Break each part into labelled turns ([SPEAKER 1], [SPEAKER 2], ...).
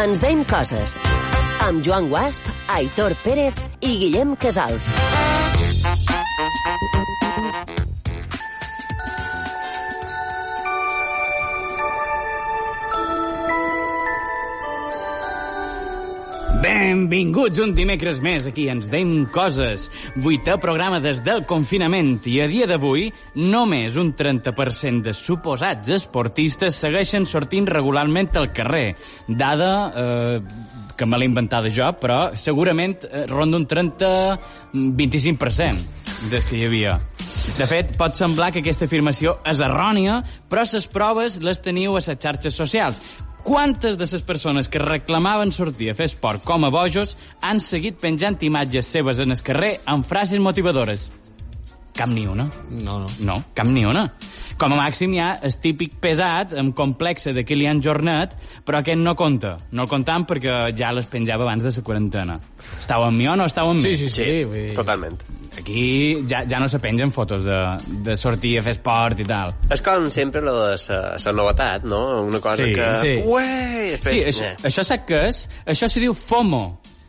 [SPEAKER 1] Ens deim coses. Amb Joan Guasp, Aitor Pérez i Guillem Casals.
[SPEAKER 2] Benvinguts un dimecres més aquí, ens deim coses. Vuitè programa des del confinament i a dia d'avui només un 30% de suposats esportistes segueixen sortint regularment al carrer. Dada eh, que me l'he inventada jo, però segurament eh, ronda un mm, 30-25% des que hi havia. De fet, pot semblar que aquesta afirmació és errònia, però les proves les teniu a les xarxes socials. Quantes de les persones que reclamaven sortir a fer esport com a bojos han seguit penjant imatges seves en el carrer amb frases motivadores? Cap ni una.
[SPEAKER 3] No, no.
[SPEAKER 2] No, cap ni una. Com a màxim hi ha el típic pesat amb complexe de Kilian Jornet, però aquest no compta. No el comptam perquè ja les penjava abans de la quarantena. Estau amb mi o no estau amb mi?
[SPEAKER 3] Sí, sí, sí. sí vull dir-
[SPEAKER 4] Totalment.
[SPEAKER 2] Aquí ja, ja no se pengen fotos de, de sortir a fer esport i tal.
[SPEAKER 4] És com sempre lo de sa, sa novetat, no? Una cosa
[SPEAKER 2] Sí,
[SPEAKER 4] que...
[SPEAKER 3] sí.
[SPEAKER 4] Ué! Després...
[SPEAKER 2] Sí, això,
[SPEAKER 4] eh.
[SPEAKER 2] això sap què és? Això s'hi diu FOMO.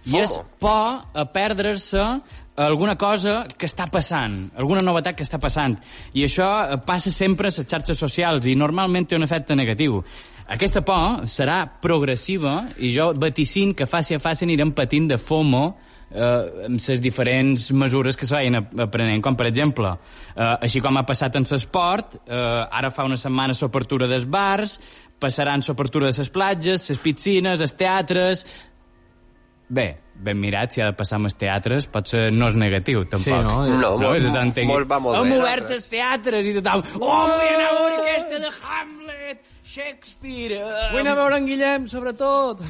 [SPEAKER 2] I
[SPEAKER 4] FOMO.
[SPEAKER 2] és por a perdre-se eh, alguna cosa que està passant, alguna novetat que està passant. I això eh, passa sempre a les xarxes socials i normalment té un efecte negatiu. Aquesta por serà progressiva i jo vaticin que fàcil a fàcil anirem patint de FOMO eh, amb les diferents mesures que se vagin ap- aprenent, com per exemple, eh, així com ha passat en l'esport, eh, ara fa una setmana s'opertura dels bars, passaran s'opertura de les platges, les piscines, els teatres... Bé, ben mirat, si ha de passar amb els teatres, potser no és negatiu, tampoc.
[SPEAKER 3] Sí, no?
[SPEAKER 4] No,
[SPEAKER 2] No,
[SPEAKER 4] molt,
[SPEAKER 2] és d'entengui.
[SPEAKER 4] molt va molt
[SPEAKER 2] Hem
[SPEAKER 4] bé.
[SPEAKER 2] obert els teatres i tothom... Oh, vull anar a l'orquestra de Hamlet, Shakespeare... eh,
[SPEAKER 3] Vull anar a veure en Guillem, sobretot.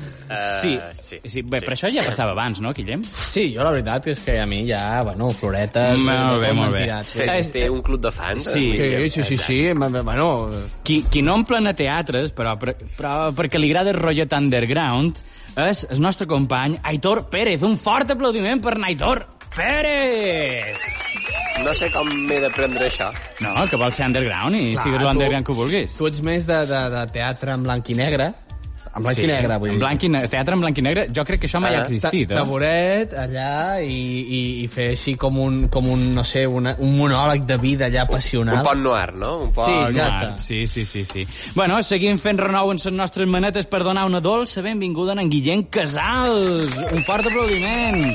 [SPEAKER 2] Sí,
[SPEAKER 4] Eh,
[SPEAKER 2] sí,
[SPEAKER 4] sí,
[SPEAKER 2] sí. Bé, però això ja passava abans, no, Guillem?
[SPEAKER 3] Sí, jo la veritat és que a mi ja, bueno, floretes...
[SPEAKER 2] Molt bé,
[SPEAKER 3] tot
[SPEAKER 2] molt bé.
[SPEAKER 3] mentirat, Sí,
[SPEAKER 4] Té,
[SPEAKER 2] és-
[SPEAKER 4] té un club de fans.
[SPEAKER 2] Sí.
[SPEAKER 4] eh?
[SPEAKER 3] sí, sí, sí, sí, ma- ma- bueno...
[SPEAKER 2] Qui, qui no omple a teatres, però, però, però perquè li agrada el rotllet underground, és el nostre company Aitor Pérez. Un fort aplaudiment per en Aitor Pérez!
[SPEAKER 4] No sé com m'he de prendre això.
[SPEAKER 2] No, que vol ser underground i
[SPEAKER 3] Clar,
[SPEAKER 2] sigues l'underground
[SPEAKER 3] tu-
[SPEAKER 2] que vulguis.
[SPEAKER 3] Tu ets més de, de, de teatre en blanc i negre. En blanc sí, i negre, vull dir.
[SPEAKER 2] en blanc i ne teatre en blanc i negre, jo crec que això mai ha
[SPEAKER 4] Ah,
[SPEAKER 2] existit.
[SPEAKER 3] Ta-
[SPEAKER 2] Eh?
[SPEAKER 3] Taburet, allà, i, i, i fer així com un, com un no sé, una, un monòleg de vida allà
[SPEAKER 4] Un
[SPEAKER 3] passional.
[SPEAKER 4] pont noir, no? Un pont...
[SPEAKER 3] Sí,
[SPEAKER 2] Al
[SPEAKER 3] exacte.
[SPEAKER 2] mar. Sí, sí, sí, sí. Bueno, seguim fent renou en les nostres manetes per donar una dolça benvinguda a en Guillem Casals. Un fort aplaudiment.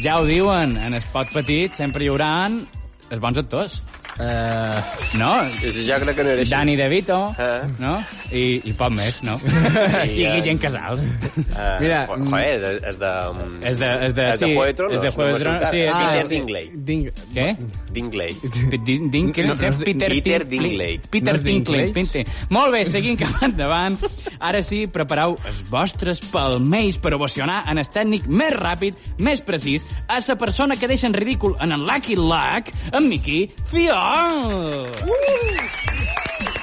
[SPEAKER 2] Ja ho diuen, en Espot Petit sempre hi haurà els bons actors.
[SPEAKER 3] Eh,
[SPEAKER 2] No?
[SPEAKER 4] Sí, Jo crec que no era així.
[SPEAKER 2] Dani De Vito,
[SPEAKER 4] Ah.
[SPEAKER 2] no? I, i poc més, no? I,
[SPEAKER 4] eh,
[SPEAKER 2] Guillem Casals.
[SPEAKER 4] Eh,
[SPEAKER 3] Mira,
[SPEAKER 4] jo-
[SPEAKER 3] mm.
[SPEAKER 4] Joder, és de...
[SPEAKER 2] És de- és de-
[SPEAKER 4] És de
[SPEAKER 2] sí,
[SPEAKER 4] Juego de Tronos.
[SPEAKER 2] és de Juego de Tronos, sí,
[SPEAKER 4] Sí,
[SPEAKER 2] és
[SPEAKER 4] ah,
[SPEAKER 2] de-
[SPEAKER 4] és d'Ingley.
[SPEAKER 3] Ding...
[SPEAKER 2] Què?
[SPEAKER 4] D'Ingley.
[SPEAKER 2] Pe- Din- Dinklage?
[SPEAKER 3] No, no és
[SPEAKER 2] Peter,
[SPEAKER 4] Peter
[SPEAKER 2] Tin-
[SPEAKER 4] Dinklage.
[SPEAKER 2] Peter
[SPEAKER 3] No és
[SPEAKER 2] Dinklage.
[SPEAKER 3] Dinklage?
[SPEAKER 2] Pinte. Molt bé, seguim cap endavant. Ara sí, prepareu els vostres palmells per ovacionar en el tècnic més ràpid, més precís, a la persona que deixa en ridícul en el Lucky Luck, en Miqui Fiol.
[SPEAKER 3] Uh!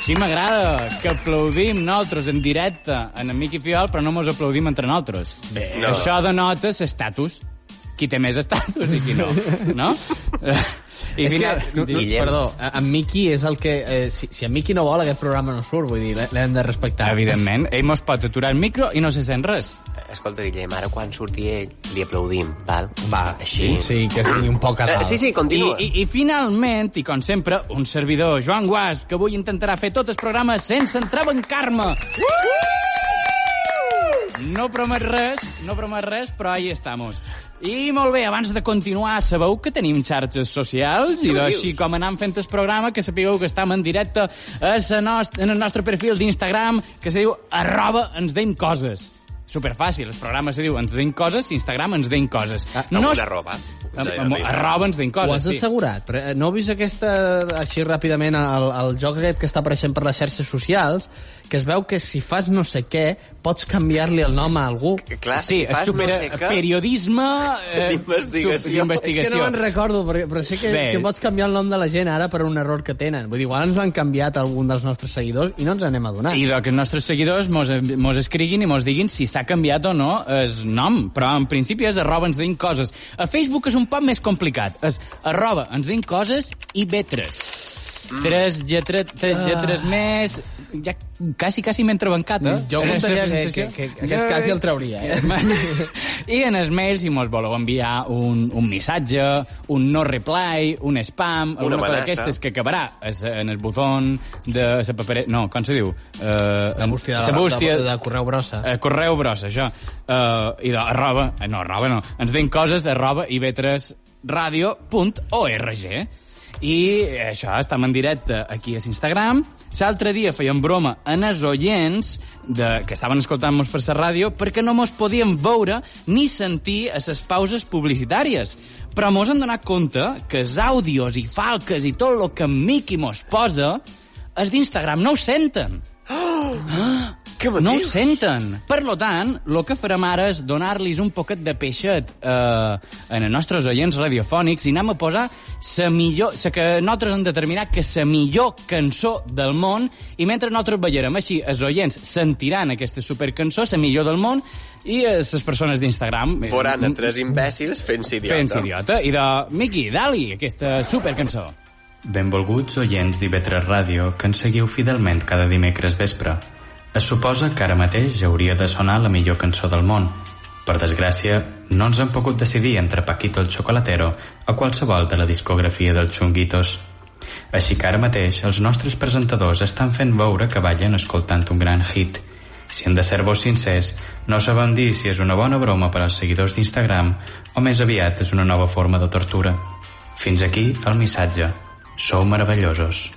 [SPEAKER 2] Sí, m'agrada que aplaudim nosaltres en directe en en Miqui Fiol, però no mos aplaudim entre nosaltres. Bé,
[SPEAKER 4] No.
[SPEAKER 2] això denota l'estatus. Qui té més estatus i qui no, no? I
[SPEAKER 3] és
[SPEAKER 2] final-
[SPEAKER 3] que, no, no,
[SPEAKER 4] Guillem.
[SPEAKER 3] perdó, a- en Miki és el que... Eh, si, si en Miki no vol, aquest programa no surt, vull dir, l'he- l'hem de respectar.
[SPEAKER 2] Evidentment, ell mos pot aturar el micro i no se sent res.
[SPEAKER 4] Escolta, Guillem, ara quan surti ell, li aplaudim, val? Va, així.
[SPEAKER 3] Sí, que estigui un poc a
[SPEAKER 4] Eh,
[SPEAKER 3] dalt.
[SPEAKER 4] sí, sí,
[SPEAKER 2] I,
[SPEAKER 4] continua.
[SPEAKER 2] i, I finalment, i com sempre, un servidor, Joan Guas, que avui intentarà fer tot el programa sense entrebancar-me. No promet res, no promet res, però ahí estamos. I molt bé, abans de continuar, sabeu que tenim xarxes socials i
[SPEAKER 4] Què
[SPEAKER 2] d'així
[SPEAKER 4] dius?
[SPEAKER 2] com anam fent el programa, que sapigueu que estem en directe a sa nost en el nostre perfil d'Instagram, que se diu arroba ens deim coses. Superfàcil, el programa se diu ens deim coses, Instagram ens deim coses.
[SPEAKER 3] Ah,
[SPEAKER 4] Amb
[SPEAKER 2] es-
[SPEAKER 4] una roba.
[SPEAKER 2] Amb, amb, arroba ens deim
[SPEAKER 3] Ho
[SPEAKER 2] coses,
[SPEAKER 3] has assegurat? Però, eh, No heu vist aquesta, així ràpidament, el, el joc aquest que està apareixent per les xarxes socials, que es veu que si fas no sé què, pots canviar-li el nom a algú.
[SPEAKER 4] Clar,
[SPEAKER 2] sí,
[SPEAKER 4] si fas
[SPEAKER 2] supera
[SPEAKER 4] no sé què...
[SPEAKER 2] periodisme...
[SPEAKER 4] D'investigació.
[SPEAKER 2] sub-
[SPEAKER 3] És que
[SPEAKER 2] d'investigació.
[SPEAKER 3] no me'n recordo, però, però sé que,
[SPEAKER 2] Bé.
[SPEAKER 3] que pots canviar el nom de la gent ara per un error que tenen. Vull dir, igual ens l'han canviat algun dels nostres seguidors i no ens n'hem adonat.
[SPEAKER 2] I doncs que els nostres seguidors mos, mos escriguin i mos diguin si s'ha canviat o no el nom, però en principi és arroba ens deim coses. A Facebook és un poc més complicat, és arroba ens deim coses i vetres.
[SPEAKER 4] Mm.
[SPEAKER 2] Tres lletres, tres
[SPEAKER 3] Ah.
[SPEAKER 2] lletres més... Ja quasi, quasi m'he entrebancat, eh?
[SPEAKER 3] Jo
[SPEAKER 2] Tres
[SPEAKER 3] contaria que, que,
[SPEAKER 2] presentacions.
[SPEAKER 3] que aquest cas ja el trauria, eh?
[SPEAKER 2] I en els mails, si mos voleu enviar un, un missatge, un no reply, un spam,
[SPEAKER 4] Una
[SPEAKER 2] alguna cosa
[SPEAKER 4] amenaça.
[SPEAKER 2] d'aquestes que acabarà es- en el botó de la paperera... No, com se diu? Uh,
[SPEAKER 3] La bústia de,
[SPEAKER 2] la
[SPEAKER 3] la, de,
[SPEAKER 2] bústia
[SPEAKER 3] de, de correu brossa.
[SPEAKER 2] Eh, correu brossa, això. Eh, I de arroba... eh, No, arroba no. Ens deim coses arroba ib3radio.org. I això, estem en directe aquí a Instagram. L'altre dia fèiem broma a els oients de, que estaven escoltant-nos per la ràdio perquè no mos podíem veure ni sentir a les pauses publicitàries. Però mos han donat compte que els àudios i falques i tot el que en Miqui mos posa els d'Instagram no ho senten.
[SPEAKER 4] Què me
[SPEAKER 2] No ho
[SPEAKER 4] dius?
[SPEAKER 2] senten. Per lo tant, el que farem ara és donar-los un poquet de peixet eh, en els nostres oients radiofònics i anem a posar la millor... La que nosaltres hem determinat que és la millor cançó del món i mentre nosaltres ballarem així, els oients sentiran aquesta supercançó, la millor del món, i les persones d'Instagram... eh,
[SPEAKER 4] Veuran a tres imbècils fent-se idiota.
[SPEAKER 2] Fent-se idiota. I de Miqui, Dali, aquesta supercançó. Benvolguts oients d'IV3 Ràdio, que ens seguiu fidelment cada dimecres vespre. Es suposa que ara mateix ja hauria de sonar la millor cançó del món. Per desgràcia, no ens hem pogut decidir entre Paquito el Chocolatero o qualsevol de la discografia dels xunguitos. Així que ara mateix els nostres presentadors estan fent veure que ballen escoltant un gran hit. Si hem de ser vos sincers, no sabem dir si és una bona broma per als seguidors d'Instagram o més aviat és una nova forma de tortura. Fins aquí el missatge. Sou meravellosos.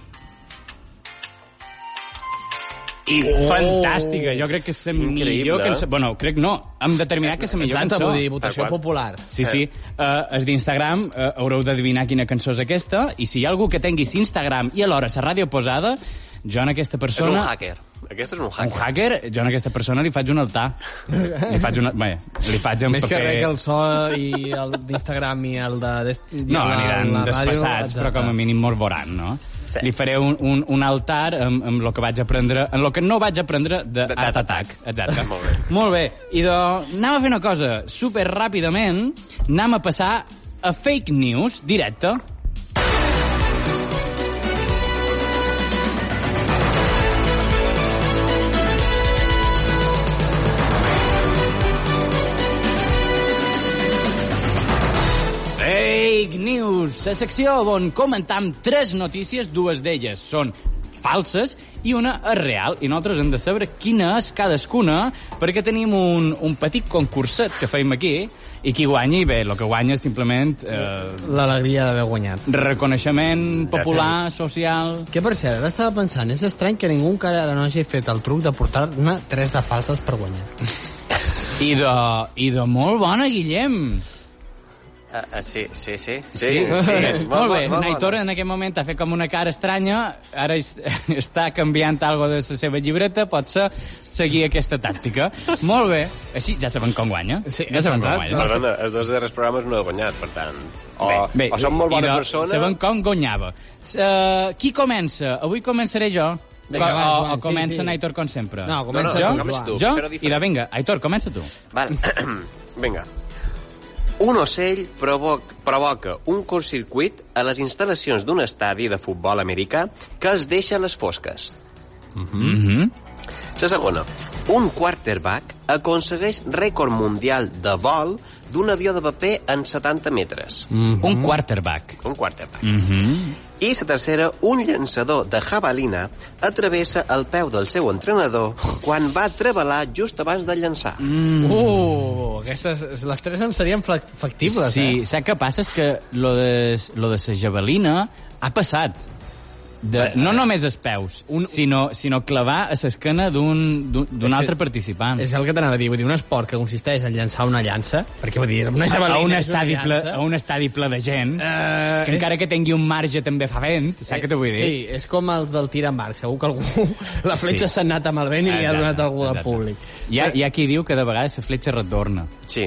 [SPEAKER 2] I fantàstica, jo crec que és la millor
[SPEAKER 4] Oh. Increïble.
[SPEAKER 2] cançó... Bueno, crec no, hem determinat que és la millor
[SPEAKER 3] Exacte,
[SPEAKER 2] cançó.
[SPEAKER 3] vull dir, votació
[SPEAKER 4] Per quant?
[SPEAKER 3] popular.
[SPEAKER 2] Sí, sí. Uh, els d'Instagram uh, haureu d'adivinar quina cançó és aquesta i si hi ha algú que tengui Instagram i alhora la ràdio posada, jo en aquesta
[SPEAKER 4] És un
[SPEAKER 2] persona...
[SPEAKER 4] hacker. Aquest és un
[SPEAKER 2] Un
[SPEAKER 4] hacker.
[SPEAKER 2] hacker, jo en aquesta persona li faig un altar. li faig una... Bé, li faig un
[SPEAKER 3] Més
[SPEAKER 2] paper...
[SPEAKER 3] que res que el so i el d'Instagram i el de... dest- i
[SPEAKER 2] No,
[SPEAKER 3] el de
[SPEAKER 2] aniran
[SPEAKER 3] la ràdio,
[SPEAKER 2] despassats,
[SPEAKER 3] exacte.
[SPEAKER 2] però com a mínim mos veuran, no?
[SPEAKER 4] Sí.
[SPEAKER 2] Li faré un, un, un altar amb, amb el que vaig aprendre, en el que no vaig aprendre de,
[SPEAKER 4] De-
[SPEAKER 2] de
[SPEAKER 4] de-
[SPEAKER 2] Art Attack. Exacte.
[SPEAKER 4] Molt bé.
[SPEAKER 2] Molt bé. I de, anem a fer una cosa, super ràpidament, anem a passar a fake news directe. Fake News, la secció on comentam tres notícies, dues d'elles són falses i una és real. I nosaltres hem de saber quina és cadascuna perquè tenim un, un petit concurset que feim aquí i qui guanyi, bé, el que guanya és simplement eh,
[SPEAKER 3] L'alegria d'haver guanyat.
[SPEAKER 2] reconeixement popular, social...
[SPEAKER 3] Que, per cert, ara estava pensant, és estrany que ningú encara ara no hagi fet el truc de portar-ne tres de falses per guanyar.
[SPEAKER 2] I de, I de molt bona, Guillem!
[SPEAKER 4] Ah, ah, sí, sí, sí. Sí,
[SPEAKER 2] Sí,
[SPEAKER 4] sí.
[SPEAKER 2] molt bé.
[SPEAKER 4] molt
[SPEAKER 2] Naitora en aquell moment ha fet com una cara estranya, ara es- està canviant algo de la seva llibreta, pot ser seguir aquesta tàctica. molt bé. Així ja saben com guanya.
[SPEAKER 3] Sí,
[SPEAKER 2] ja saben com
[SPEAKER 3] exacte.
[SPEAKER 2] guanya.
[SPEAKER 4] Perdona, els dos darrers programes no he guanyat, per tant... O, bé, bé, o som Oh, molt
[SPEAKER 2] i
[SPEAKER 4] bona
[SPEAKER 2] de-
[SPEAKER 4] persona...
[SPEAKER 2] Saben com guanyava. Uh, qui comença? Avui començaré jo. Co-
[SPEAKER 3] Vinga, va,
[SPEAKER 2] o,
[SPEAKER 3] Joan,
[SPEAKER 2] o
[SPEAKER 3] sí,
[SPEAKER 2] comença
[SPEAKER 3] sí.
[SPEAKER 2] en Aitor com sempre.
[SPEAKER 3] No,
[SPEAKER 4] No, no,
[SPEAKER 3] comença
[SPEAKER 2] jo?
[SPEAKER 3] tu,
[SPEAKER 4] comença tu,
[SPEAKER 2] jo?
[SPEAKER 4] però
[SPEAKER 2] I de
[SPEAKER 4] diferent.
[SPEAKER 2] vinga, Aitor, comença tu.
[SPEAKER 4] Val. Vinga. Un ocell provoc, provoca un curtcircuit a les instal·lacions d'un estadi de futbol americà que els deixa a les fosques.
[SPEAKER 3] Mm-hmm.
[SPEAKER 2] Mm-hmm.
[SPEAKER 4] La segona. Un quarterback aconsegueix rècord mundial de vol d'un avió de paper en 70 metres.
[SPEAKER 3] Mm-hmm.
[SPEAKER 2] Un quarterback.
[SPEAKER 4] Un quarterback. I la tercera, un llançador de javelina atravessa el peu del seu entrenador quan va treballar just abans de llançar.
[SPEAKER 2] Mm.
[SPEAKER 3] Uh, aquestes, les tres em serien fla- factibles,
[SPEAKER 2] Sí,
[SPEAKER 3] eh?
[SPEAKER 2] saps què passa? És que lo de, lo de sa javelina ha passat. De, no només els peus, un, sinó, sinó clavar a l'esquena d'un d'un- d'un
[SPEAKER 3] És-
[SPEAKER 2] altre participant.
[SPEAKER 3] És el que t'anava a dir, vull dir, un esport que consisteix en llançar una llança, perquè vull dir, una
[SPEAKER 2] A-
[SPEAKER 3] javelina
[SPEAKER 2] a, un
[SPEAKER 3] és una
[SPEAKER 2] estadi ple,
[SPEAKER 3] llança.
[SPEAKER 2] a un estadi ple de gent,
[SPEAKER 3] Eh,
[SPEAKER 2] que encara que tingui un marge també fa vent, saps què t'ho vull dir?
[SPEAKER 3] Sí, és com els del tir amb arc. Segur que algú... La fletxa
[SPEAKER 2] Sí.
[SPEAKER 3] s'ha anat amb el vent i li ha
[SPEAKER 2] Exacte,
[SPEAKER 3] donat algú al
[SPEAKER 2] exacte.
[SPEAKER 3] públic.
[SPEAKER 2] Hi ha, hi ha qui diu que de vegades la fletxa retorna.
[SPEAKER 4] Sí.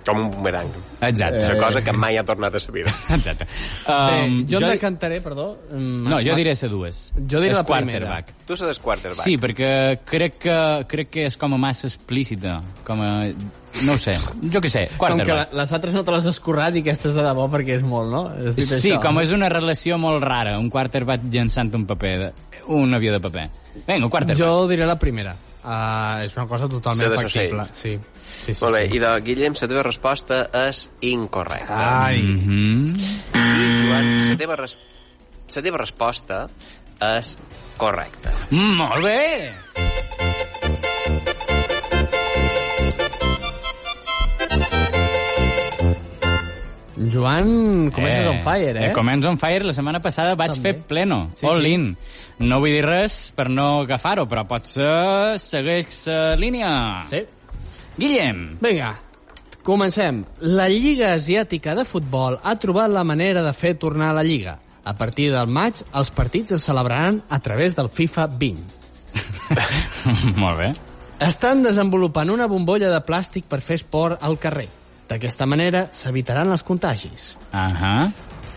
[SPEAKER 4] Com un bumerang.
[SPEAKER 2] Exacte.
[SPEAKER 4] És una cosa que mai ha tornat a sa vida.
[SPEAKER 2] Exacte.
[SPEAKER 3] Um,
[SPEAKER 2] Um,
[SPEAKER 3] eh, jo, jo em decantaré, perdó. mm,
[SPEAKER 2] No, jo diré ser dues.
[SPEAKER 3] Jo diré
[SPEAKER 2] és
[SPEAKER 3] la primera.
[SPEAKER 2] quarterback.
[SPEAKER 4] Tu seràs quarterback.
[SPEAKER 2] Sí, perquè crec que, crec que és com a massa explícita. Com a... No ho sé. Jo què sé,
[SPEAKER 3] Com que
[SPEAKER 2] quarterback.
[SPEAKER 3] la- les altres no te les has currat i aquestes de debò perquè és molt, no? Has dit
[SPEAKER 2] Sí,
[SPEAKER 3] això.
[SPEAKER 2] com és una relació molt rara. Un quarterback llançant un paper, de... un avió de paper. Vinga, un quarterback.
[SPEAKER 3] Jo diré la primera. Uh, és una cosa
[SPEAKER 4] Ser
[SPEAKER 3] totalment
[SPEAKER 4] desocell.
[SPEAKER 3] factible. Sí, sí, sí.
[SPEAKER 4] Molt bé,
[SPEAKER 3] sí.
[SPEAKER 4] i de Guillem, la teva resposta és incorrecta.
[SPEAKER 3] Ai, mm.
[SPEAKER 2] Mhm.
[SPEAKER 4] I Joan, la teva, res... la teva resposta és correcta.
[SPEAKER 2] Mm, molt bé!
[SPEAKER 3] Joan, comences on fire, eh?
[SPEAKER 2] Comença on fire. La setmana passada vaig
[SPEAKER 3] També.
[SPEAKER 2] fer pleno,
[SPEAKER 3] Sí,
[SPEAKER 2] sí, all
[SPEAKER 3] sí.
[SPEAKER 2] in. No vull dir res per no agafar-ho, però pot ser segueix la línia.
[SPEAKER 3] Sí.
[SPEAKER 2] Guillem,
[SPEAKER 3] Vinga, comencem. La Lliga Asiàtica de Futbol ha trobat la manera de fer tornar a la Lliga. A partir del maig, els partits es celebraran a través del FIFA 20.
[SPEAKER 2] Molt bé.
[SPEAKER 3] Estan desenvolupant una bombolla de plàstic per fer esport al carrer. D'aquesta manera s'evitaran els contagis.
[SPEAKER 2] Ahà.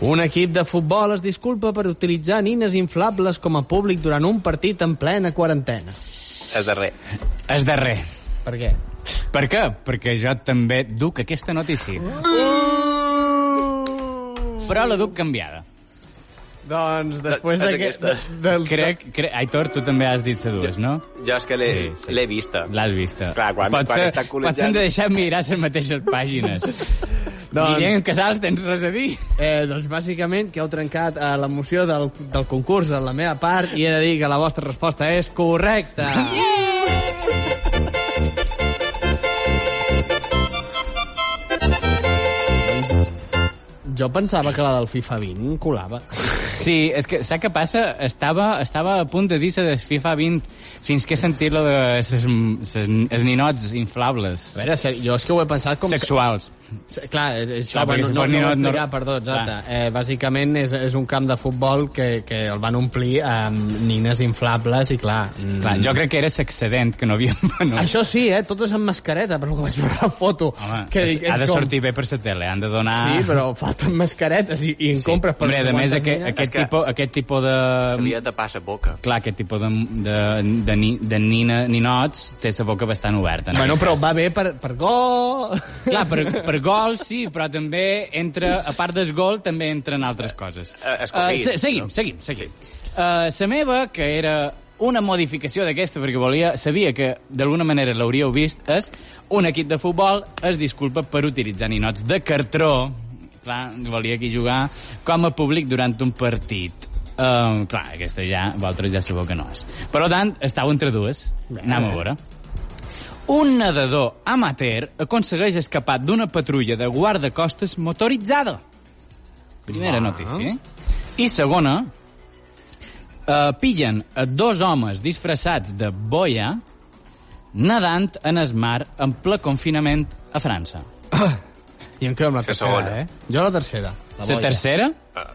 [SPEAKER 3] Un equip de futbol es disculpa per utilitzar nines inflables com a públic durant un partit en plena quarantena.
[SPEAKER 4] És darrer.
[SPEAKER 2] És darrer.
[SPEAKER 3] Per què?
[SPEAKER 2] Per què? Perquè jo també duc aquesta notícia.
[SPEAKER 4] Uh!
[SPEAKER 2] Però la duc canviada.
[SPEAKER 3] Doncs
[SPEAKER 4] És
[SPEAKER 3] després d'aquest...
[SPEAKER 4] aquesta.
[SPEAKER 3] del-
[SPEAKER 2] Crec, crec... Aitor, tu també has dit sedues, no?
[SPEAKER 4] Jo és que l'he
[SPEAKER 2] Sí, sí.
[SPEAKER 4] l'he vista.
[SPEAKER 2] L'has vista.
[SPEAKER 4] Clar, quan- quan
[SPEAKER 2] potser,
[SPEAKER 4] està col·lejant-
[SPEAKER 2] Potser hem de deixar mirar les mateixes pàgines. doncs...
[SPEAKER 3] Doncs-
[SPEAKER 2] Guillem Casals, tens res a dir?
[SPEAKER 3] Eh, doncs bàsicament que heu trencat eh, l'emoció del, del concurs de la meva part i he de dir que la vostra resposta és correcta. Yeah! Jo pensava que la del FIFA 20 colava.
[SPEAKER 2] Sí, és que, saps què passa? Estava, estava a punt de dir-se de FIFA 20 fins que he sentit lo de ses, ses, ses ninots inflables,
[SPEAKER 3] A veure, ser- jo és que ho he pensat com...
[SPEAKER 2] sexuals.
[SPEAKER 3] Se- Clar, és, és
[SPEAKER 2] Clar,
[SPEAKER 3] això,
[SPEAKER 2] perquè
[SPEAKER 3] no,
[SPEAKER 2] si fos
[SPEAKER 3] no, no,
[SPEAKER 2] ninot,
[SPEAKER 3] no,
[SPEAKER 2] no-
[SPEAKER 3] explicar, perdó, exacte. Eh, bàsicament és, és un camp de futbol que, que el van omplir amb nines inflables i clar... mm,
[SPEAKER 2] Clar, jo crec que era excedent, que no havíem venut.
[SPEAKER 3] Això sí, eh? Totes amb mascareta, però que vaig veure la foto.
[SPEAKER 2] Home,
[SPEAKER 3] que
[SPEAKER 2] que
[SPEAKER 3] dic,
[SPEAKER 2] ha
[SPEAKER 3] és
[SPEAKER 2] de
[SPEAKER 3] com-
[SPEAKER 2] sortir bé per la tele, han de donar...
[SPEAKER 3] Sí, però falten mascaretes i, i en sí. compres per...
[SPEAKER 2] Hombre, a més,
[SPEAKER 3] quantes
[SPEAKER 2] aquest,
[SPEAKER 3] nines.
[SPEAKER 2] aquest,
[SPEAKER 4] És que-
[SPEAKER 2] tipus, aquest tipus de...
[SPEAKER 4] S'havia de passar boca.
[SPEAKER 2] Clar, aquest tipus de, de, de, ni, de nina, ninots té la boca bastant oberta. no?
[SPEAKER 3] Bueno, però va bé per, per gol...
[SPEAKER 2] Clar, per, per gol sí, però també entra, a part del gol, també entren altres coses.
[SPEAKER 4] eh, escolti,
[SPEAKER 2] se seguim,
[SPEAKER 4] no?
[SPEAKER 2] seguim, seguim. La sí. uh, meva, que era una modificació d'aquesta, perquè volia, sabia que d'alguna manera l'hauríeu vist, és un equip de futbol es disculpa per utilitzar ninots de cartró, clar, volia aquí jugar, com a públic durant un partit. Uh, clar, aquesta ja, vosaltres ja sabeu que no és. Per tant, estava entre dues. Anem a veure. Un nedador amateur aconsegueix escapar d'una patrulla de guardacostes motoritzada. Primera notícia. eh? I segona, eh, pillen a dos homes disfressats de boia nedant en es mar en ple confinament a França.
[SPEAKER 3] I em quedo amb la
[SPEAKER 4] Sí,
[SPEAKER 3] tercera,
[SPEAKER 4] segona.
[SPEAKER 3] eh? Jo la tercera.
[SPEAKER 2] La,
[SPEAKER 3] boia.
[SPEAKER 2] tercera?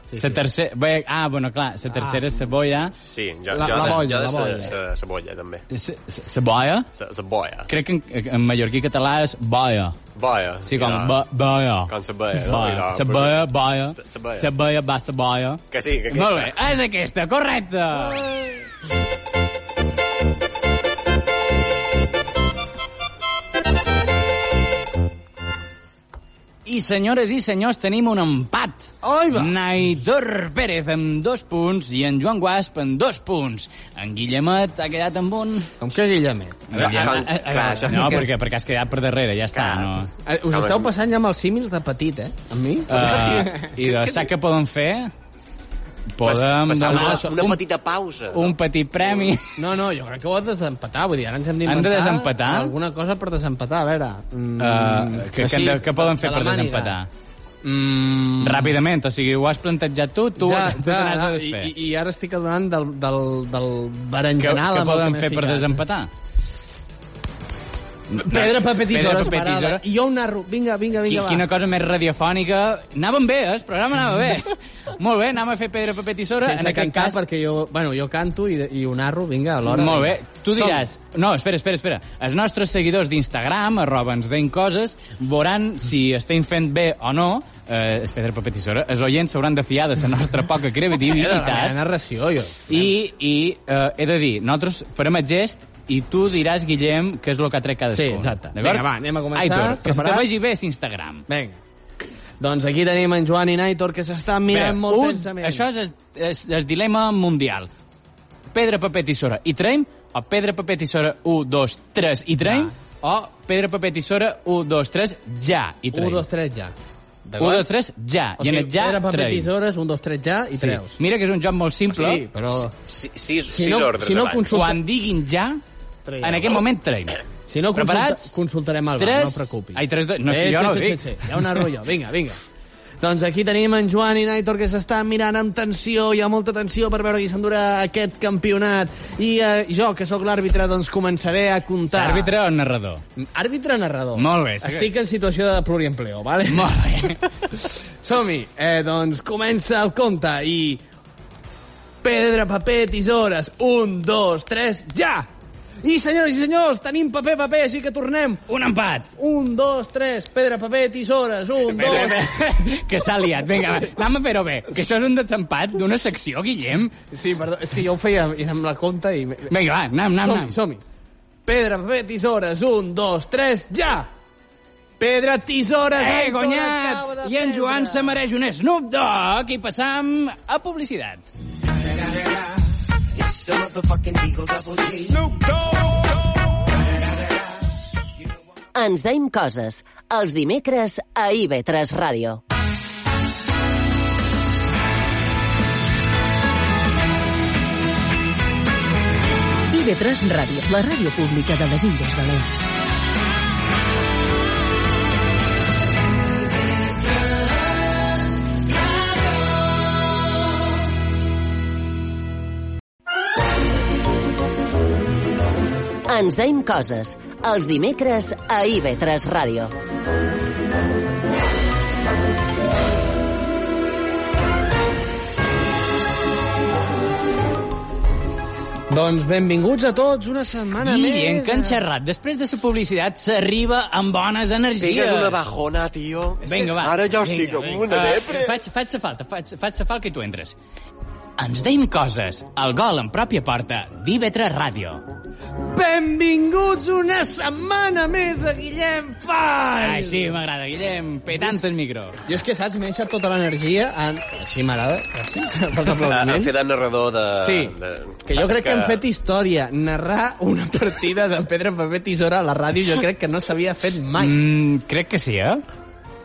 [SPEAKER 3] sí,
[SPEAKER 2] la
[SPEAKER 3] sí.
[SPEAKER 2] tercera... Bé, ah, bueno, clar, la tercera és la boia...
[SPEAKER 4] Sí, jo,
[SPEAKER 3] La-
[SPEAKER 4] jo,
[SPEAKER 3] la
[SPEAKER 4] de-
[SPEAKER 3] bolla,
[SPEAKER 4] jo
[SPEAKER 3] la
[SPEAKER 4] de
[SPEAKER 3] boia.
[SPEAKER 4] sa, sa, sa bolla, també.
[SPEAKER 2] sa- sa- La boia?
[SPEAKER 4] Sa, sa boia.
[SPEAKER 2] Crec que en, en mallorquí català és boia.
[SPEAKER 4] Boia.
[SPEAKER 2] Sí, com
[SPEAKER 4] ja.
[SPEAKER 2] bo, boia.
[SPEAKER 4] Com sa boia. no? I
[SPEAKER 2] Boia,
[SPEAKER 4] no,
[SPEAKER 2] se
[SPEAKER 4] però-
[SPEAKER 2] boia, boia,
[SPEAKER 4] Se- se boia.
[SPEAKER 2] se boia, va, se boia.
[SPEAKER 4] Que sí, que
[SPEAKER 2] Molt
[SPEAKER 4] aquesta.
[SPEAKER 2] bé, és aquesta, correcte! I senyores i senyors, tenim un empat.
[SPEAKER 3] Ai, va.
[SPEAKER 2] Naitor Pérez amb dos punts i en Joan Guasp amb dos punts. En Guillemet ha quedat amb un...
[SPEAKER 3] Com que Guillemet.
[SPEAKER 4] Clar, clar, clar, això
[SPEAKER 2] no,
[SPEAKER 4] que-
[SPEAKER 2] perquè, perquè has quedat per darrere, ja està.
[SPEAKER 4] Clar.
[SPEAKER 2] No.
[SPEAKER 3] Eh, Us
[SPEAKER 4] Home,
[SPEAKER 3] esteu passant ja amb els símils de petit, eh? Amb mi?
[SPEAKER 2] Uh, I de, saps què podem fer? Podem
[SPEAKER 4] Passar
[SPEAKER 2] demanar
[SPEAKER 4] una, una petita pausa.
[SPEAKER 2] un petit premi.
[SPEAKER 3] No, no, jo crec que ho has de desempatar. Vull dir, ara ens hem d'inventar...
[SPEAKER 2] Han de desempatar?
[SPEAKER 3] Alguna cosa per desempatar, a veure... Mm,
[SPEAKER 2] Uh, que, que,
[SPEAKER 3] així,
[SPEAKER 2] que, que poden
[SPEAKER 3] de
[SPEAKER 2] fer
[SPEAKER 3] la
[SPEAKER 2] per
[SPEAKER 3] màniga.
[SPEAKER 2] desempatar?
[SPEAKER 3] Mm,
[SPEAKER 2] Ràpidament, o sigui, ho has plantejat tu, tu, ja, tu t'has de
[SPEAKER 3] i,
[SPEAKER 2] desfer.
[SPEAKER 3] i, i ara estic adonant del, del, del
[SPEAKER 2] Què
[SPEAKER 3] berenjenal
[SPEAKER 2] què
[SPEAKER 3] amb el
[SPEAKER 2] poden
[SPEAKER 3] m'he
[SPEAKER 2] fer per
[SPEAKER 3] ficat.
[SPEAKER 2] desempatar?
[SPEAKER 3] Pedra, paper, tisora,
[SPEAKER 2] Pedra, paper, tisora.
[SPEAKER 3] separada. I jo un narro. Vinga, vinga, vinga,
[SPEAKER 2] Qui,
[SPEAKER 3] va.
[SPEAKER 2] quina cosa més radiofònica. Anàvem bé, eh? El programa anava bé. Molt bé, anàvem a fer pedra, paper, tisora.
[SPEAKER 3] Sense cantar, cas... perquè jo, bueno, jo canto i, i ho narro, vinga, a l'hora.
[SPEAKER 2] Molt bé. Tu diràs... No, espera, espera, espera. Els nostres seguidors d'Instagram, arroba ens deim coses, veuran si estem fent bé o no eh, és pedra, paper, tisora. Els oients s'hauran de fiar de la nostra poca
[SPEAKER 3] Eh, La meva
[SPEAKER 2] creativitat.
[SPEAKER 3] narració, jo.
[SPEAKER 2] I, i eh, he de dir, nosaltres farem el gest i tu diràs, Guillem, què és el que ha tret cadascú.
[SPEAKER 3] Sí, exacte.
[SPEAKER 2] D'acord?
[SPEAKER 3] Vinga, va, anem a començar.
[SPEAKER 2] Aitor, que se te
[SPEAKER 3] Preparat?
[SPEAKER 2] vagi bé, és Instagram.
[SPEAKER 3] Vinga. Doncs aquí tenim en Joan i Naitor, que s'estan mirant
[SPEAKER 2] Bé,
[SPEAKER 3] molt
[SPEAKER 2] un-
[SPEAKER 3] tensament.
[SPEAKER 2] Això és el, és el dilema mundial. Pedra, paper, tisora i traim, o pedra, paper, tisora 1, 2, 3 i traim, o pedra, paper, tisora 1, 2, 3, ja i
[SPEAKER 3] 1,
[SPEAKER 2] traim. 1,
[SPEAKER 3] 2, 3, ja.
[SPEAKER 2] 2, 3, ja.
[SPEAKER 3] O
[SPEAKER 2] I en
[SPEAKER 3] sigui,
[SPEAKER 2] el ja,
[SPEAKER 3] pedra, paper,
[SPEAKER 2] traim.
[SPEAKER 3] tisores, 1, 2, 3, ja, i
[SPEAKER 2] Sí.
[SPEAKER 3] treus.
[SPEAKER 2] Mira que és un joc molt simple.
[SPEAKER 3] Sí, però...
[SPEAKER 4] Si, sis,
[SPEAKER 3] Si
[SPEAKER 4] sis
[SPEAKER 3] no-
[SPEAKER 4] ordres
[SPEAKER 3] si no
[SPEAKER 4] abans.
[SPEAKER 3] consulta-
[SPEAKER 2] Quan diguin ja,
[SPEAKER 3] Traiem.
[SPEAKER 2] en aquell moment traim.
[SPEAKER 3] Si no, consulta,
[SPEAKER 2] Preparats?
[SPEAKER 3] consultarem el bar,
[SPEAKER 2] Tres-
[SPEAKER 3] no et preocupis.
[SPEAKER 2] Ai, tres, dos- no, si
[SPEAKER 3] Eh,
[SPEAKER 2] jo
[SPEAKER 3] sí,
[SPEAKER 2] no ho
[SPEAKER 3] sí,
[SPEAKER 2] dic.
[SPEAKER 3] Sí, sí, ja ho narro jo. Vinga, vinga. Doncs aquí tenim en Joan i Naitor que s'estan mirant amb tensió, hi ha molta tensió per veure qui s'endurà aquest campionat. I eh, jo, que sóc l'àrbitre, doncs començaré a comptar.
[SPEAKER 2] Àrbitre o narrador?
[SPEAKER 3] Àrbitre narrador.
[SPEAKER 2] Molt bé, sí.
[SPEAKER 3] Estic en situació de pluriempleo, vale?
[SPEAKER 2] Molt bé.
[SPEAKER 3] Som-hi. Eh, doncs comença el compte i... Pedra, paper, tisores. Un, dos, tres, ja! I senyores i senyors, tenim paper, paper, així que tornem.
[SPEAKER 2] Un empat.
[SPEAKER 3] Un, dos, tres, pedra, paper, tisores. Un,
[SPEAKER 2] Bé, bé,
[SPEAKER 3] dos...
[SPEAKER 2] bé. que s'ha liat. Vinga, va, anem a fer-ho bé. Que això és un desempat d'una secció, Guillem.
[SPEAKER 3] Sí, perdó, és que jo ho feia amb la compta i...
[SPEAKER 2] Vinga, va, anem, anem,
[SPEAKER 3] Som-hi,
[SPEAKER 2] anem.
[SPEAKER 3] som-hi. Pedra, paper, tisores. Un, dos, tres, ja! Pedra, tisores...
[SPEAKER 2] Eh,
[SPEAKER 3] Aitor acaba
[SPEAKER 2] guanyat!
[SPEAKER 3] de
[SPEAKER 2] I en Joan
[SPEAKER 3] perdre.
[SPEAKER 2] se mereix un Snoop Dogg i passam a publicitat.
[SPEAKER 1] Ens deim coses. Els dimecres a IB3 Ràdio.
[SPEAKER 5] IB3 Ràdio, la ràdio pública de les Illes Balears.
[SPEAKER 1] Ens deim coses. Els dimecres a IB3 Ràdio.
[SPEAKER 3] Doncs benvinguts a tots una setmana
[SPEAKER 2] I
[SPEAKER 3] més. eh.
[SPEAKER 2] gent que han xerrat. Després de la publicitat s'arriba amb bones energies.
[SPEAKER 4] Pegues una bajona, tio.
[SPEAKER 2] Vinga, va.
[SPEAKER 4] Ara jo
[SPEAKER 2] Vinga,
[SPEAKER 4] estic amb
[SPEAKER 2] vinga.
[SPEAKER 4] una
[SPEAKER 2] Eh,
[SPEAKER 4] depre.
[SPEAKER 2] Faig, faig sa falta, faig, faig sa falta que tu entres. Ens deim coses. El gol en pròpia porta d'IV3 Ràdio.
[SPEAKER 3] Benvinguts una setmana més a Guillem Fai!
[SPEAKER 2] Ai, sí, m'agrada, Guillem. Petant el micro.
[SPEAKER 3] Jo és que, saps, m'he deixat tota l'energia en... Així m'agrada. Gràcies pels
[SPEAKER 2] Ah,
[SPEAKER 4] Ha
[SPEAKER 3] aplaudiments.
[SPEAKER 4] fet de narrador de...
[SPEAKER 3] Sí,
[SPEAKER 4] de,
[SPEAKER 3] que jo
[SPEAKER 4] saps
[SPEAKER 3] crec que hem fet història. Narrar una partida de pedra, paper, tisora a la ràdio jo crec que no s'havia fet mai.
[SPEAKER 2] Mm, crec que sí, eh?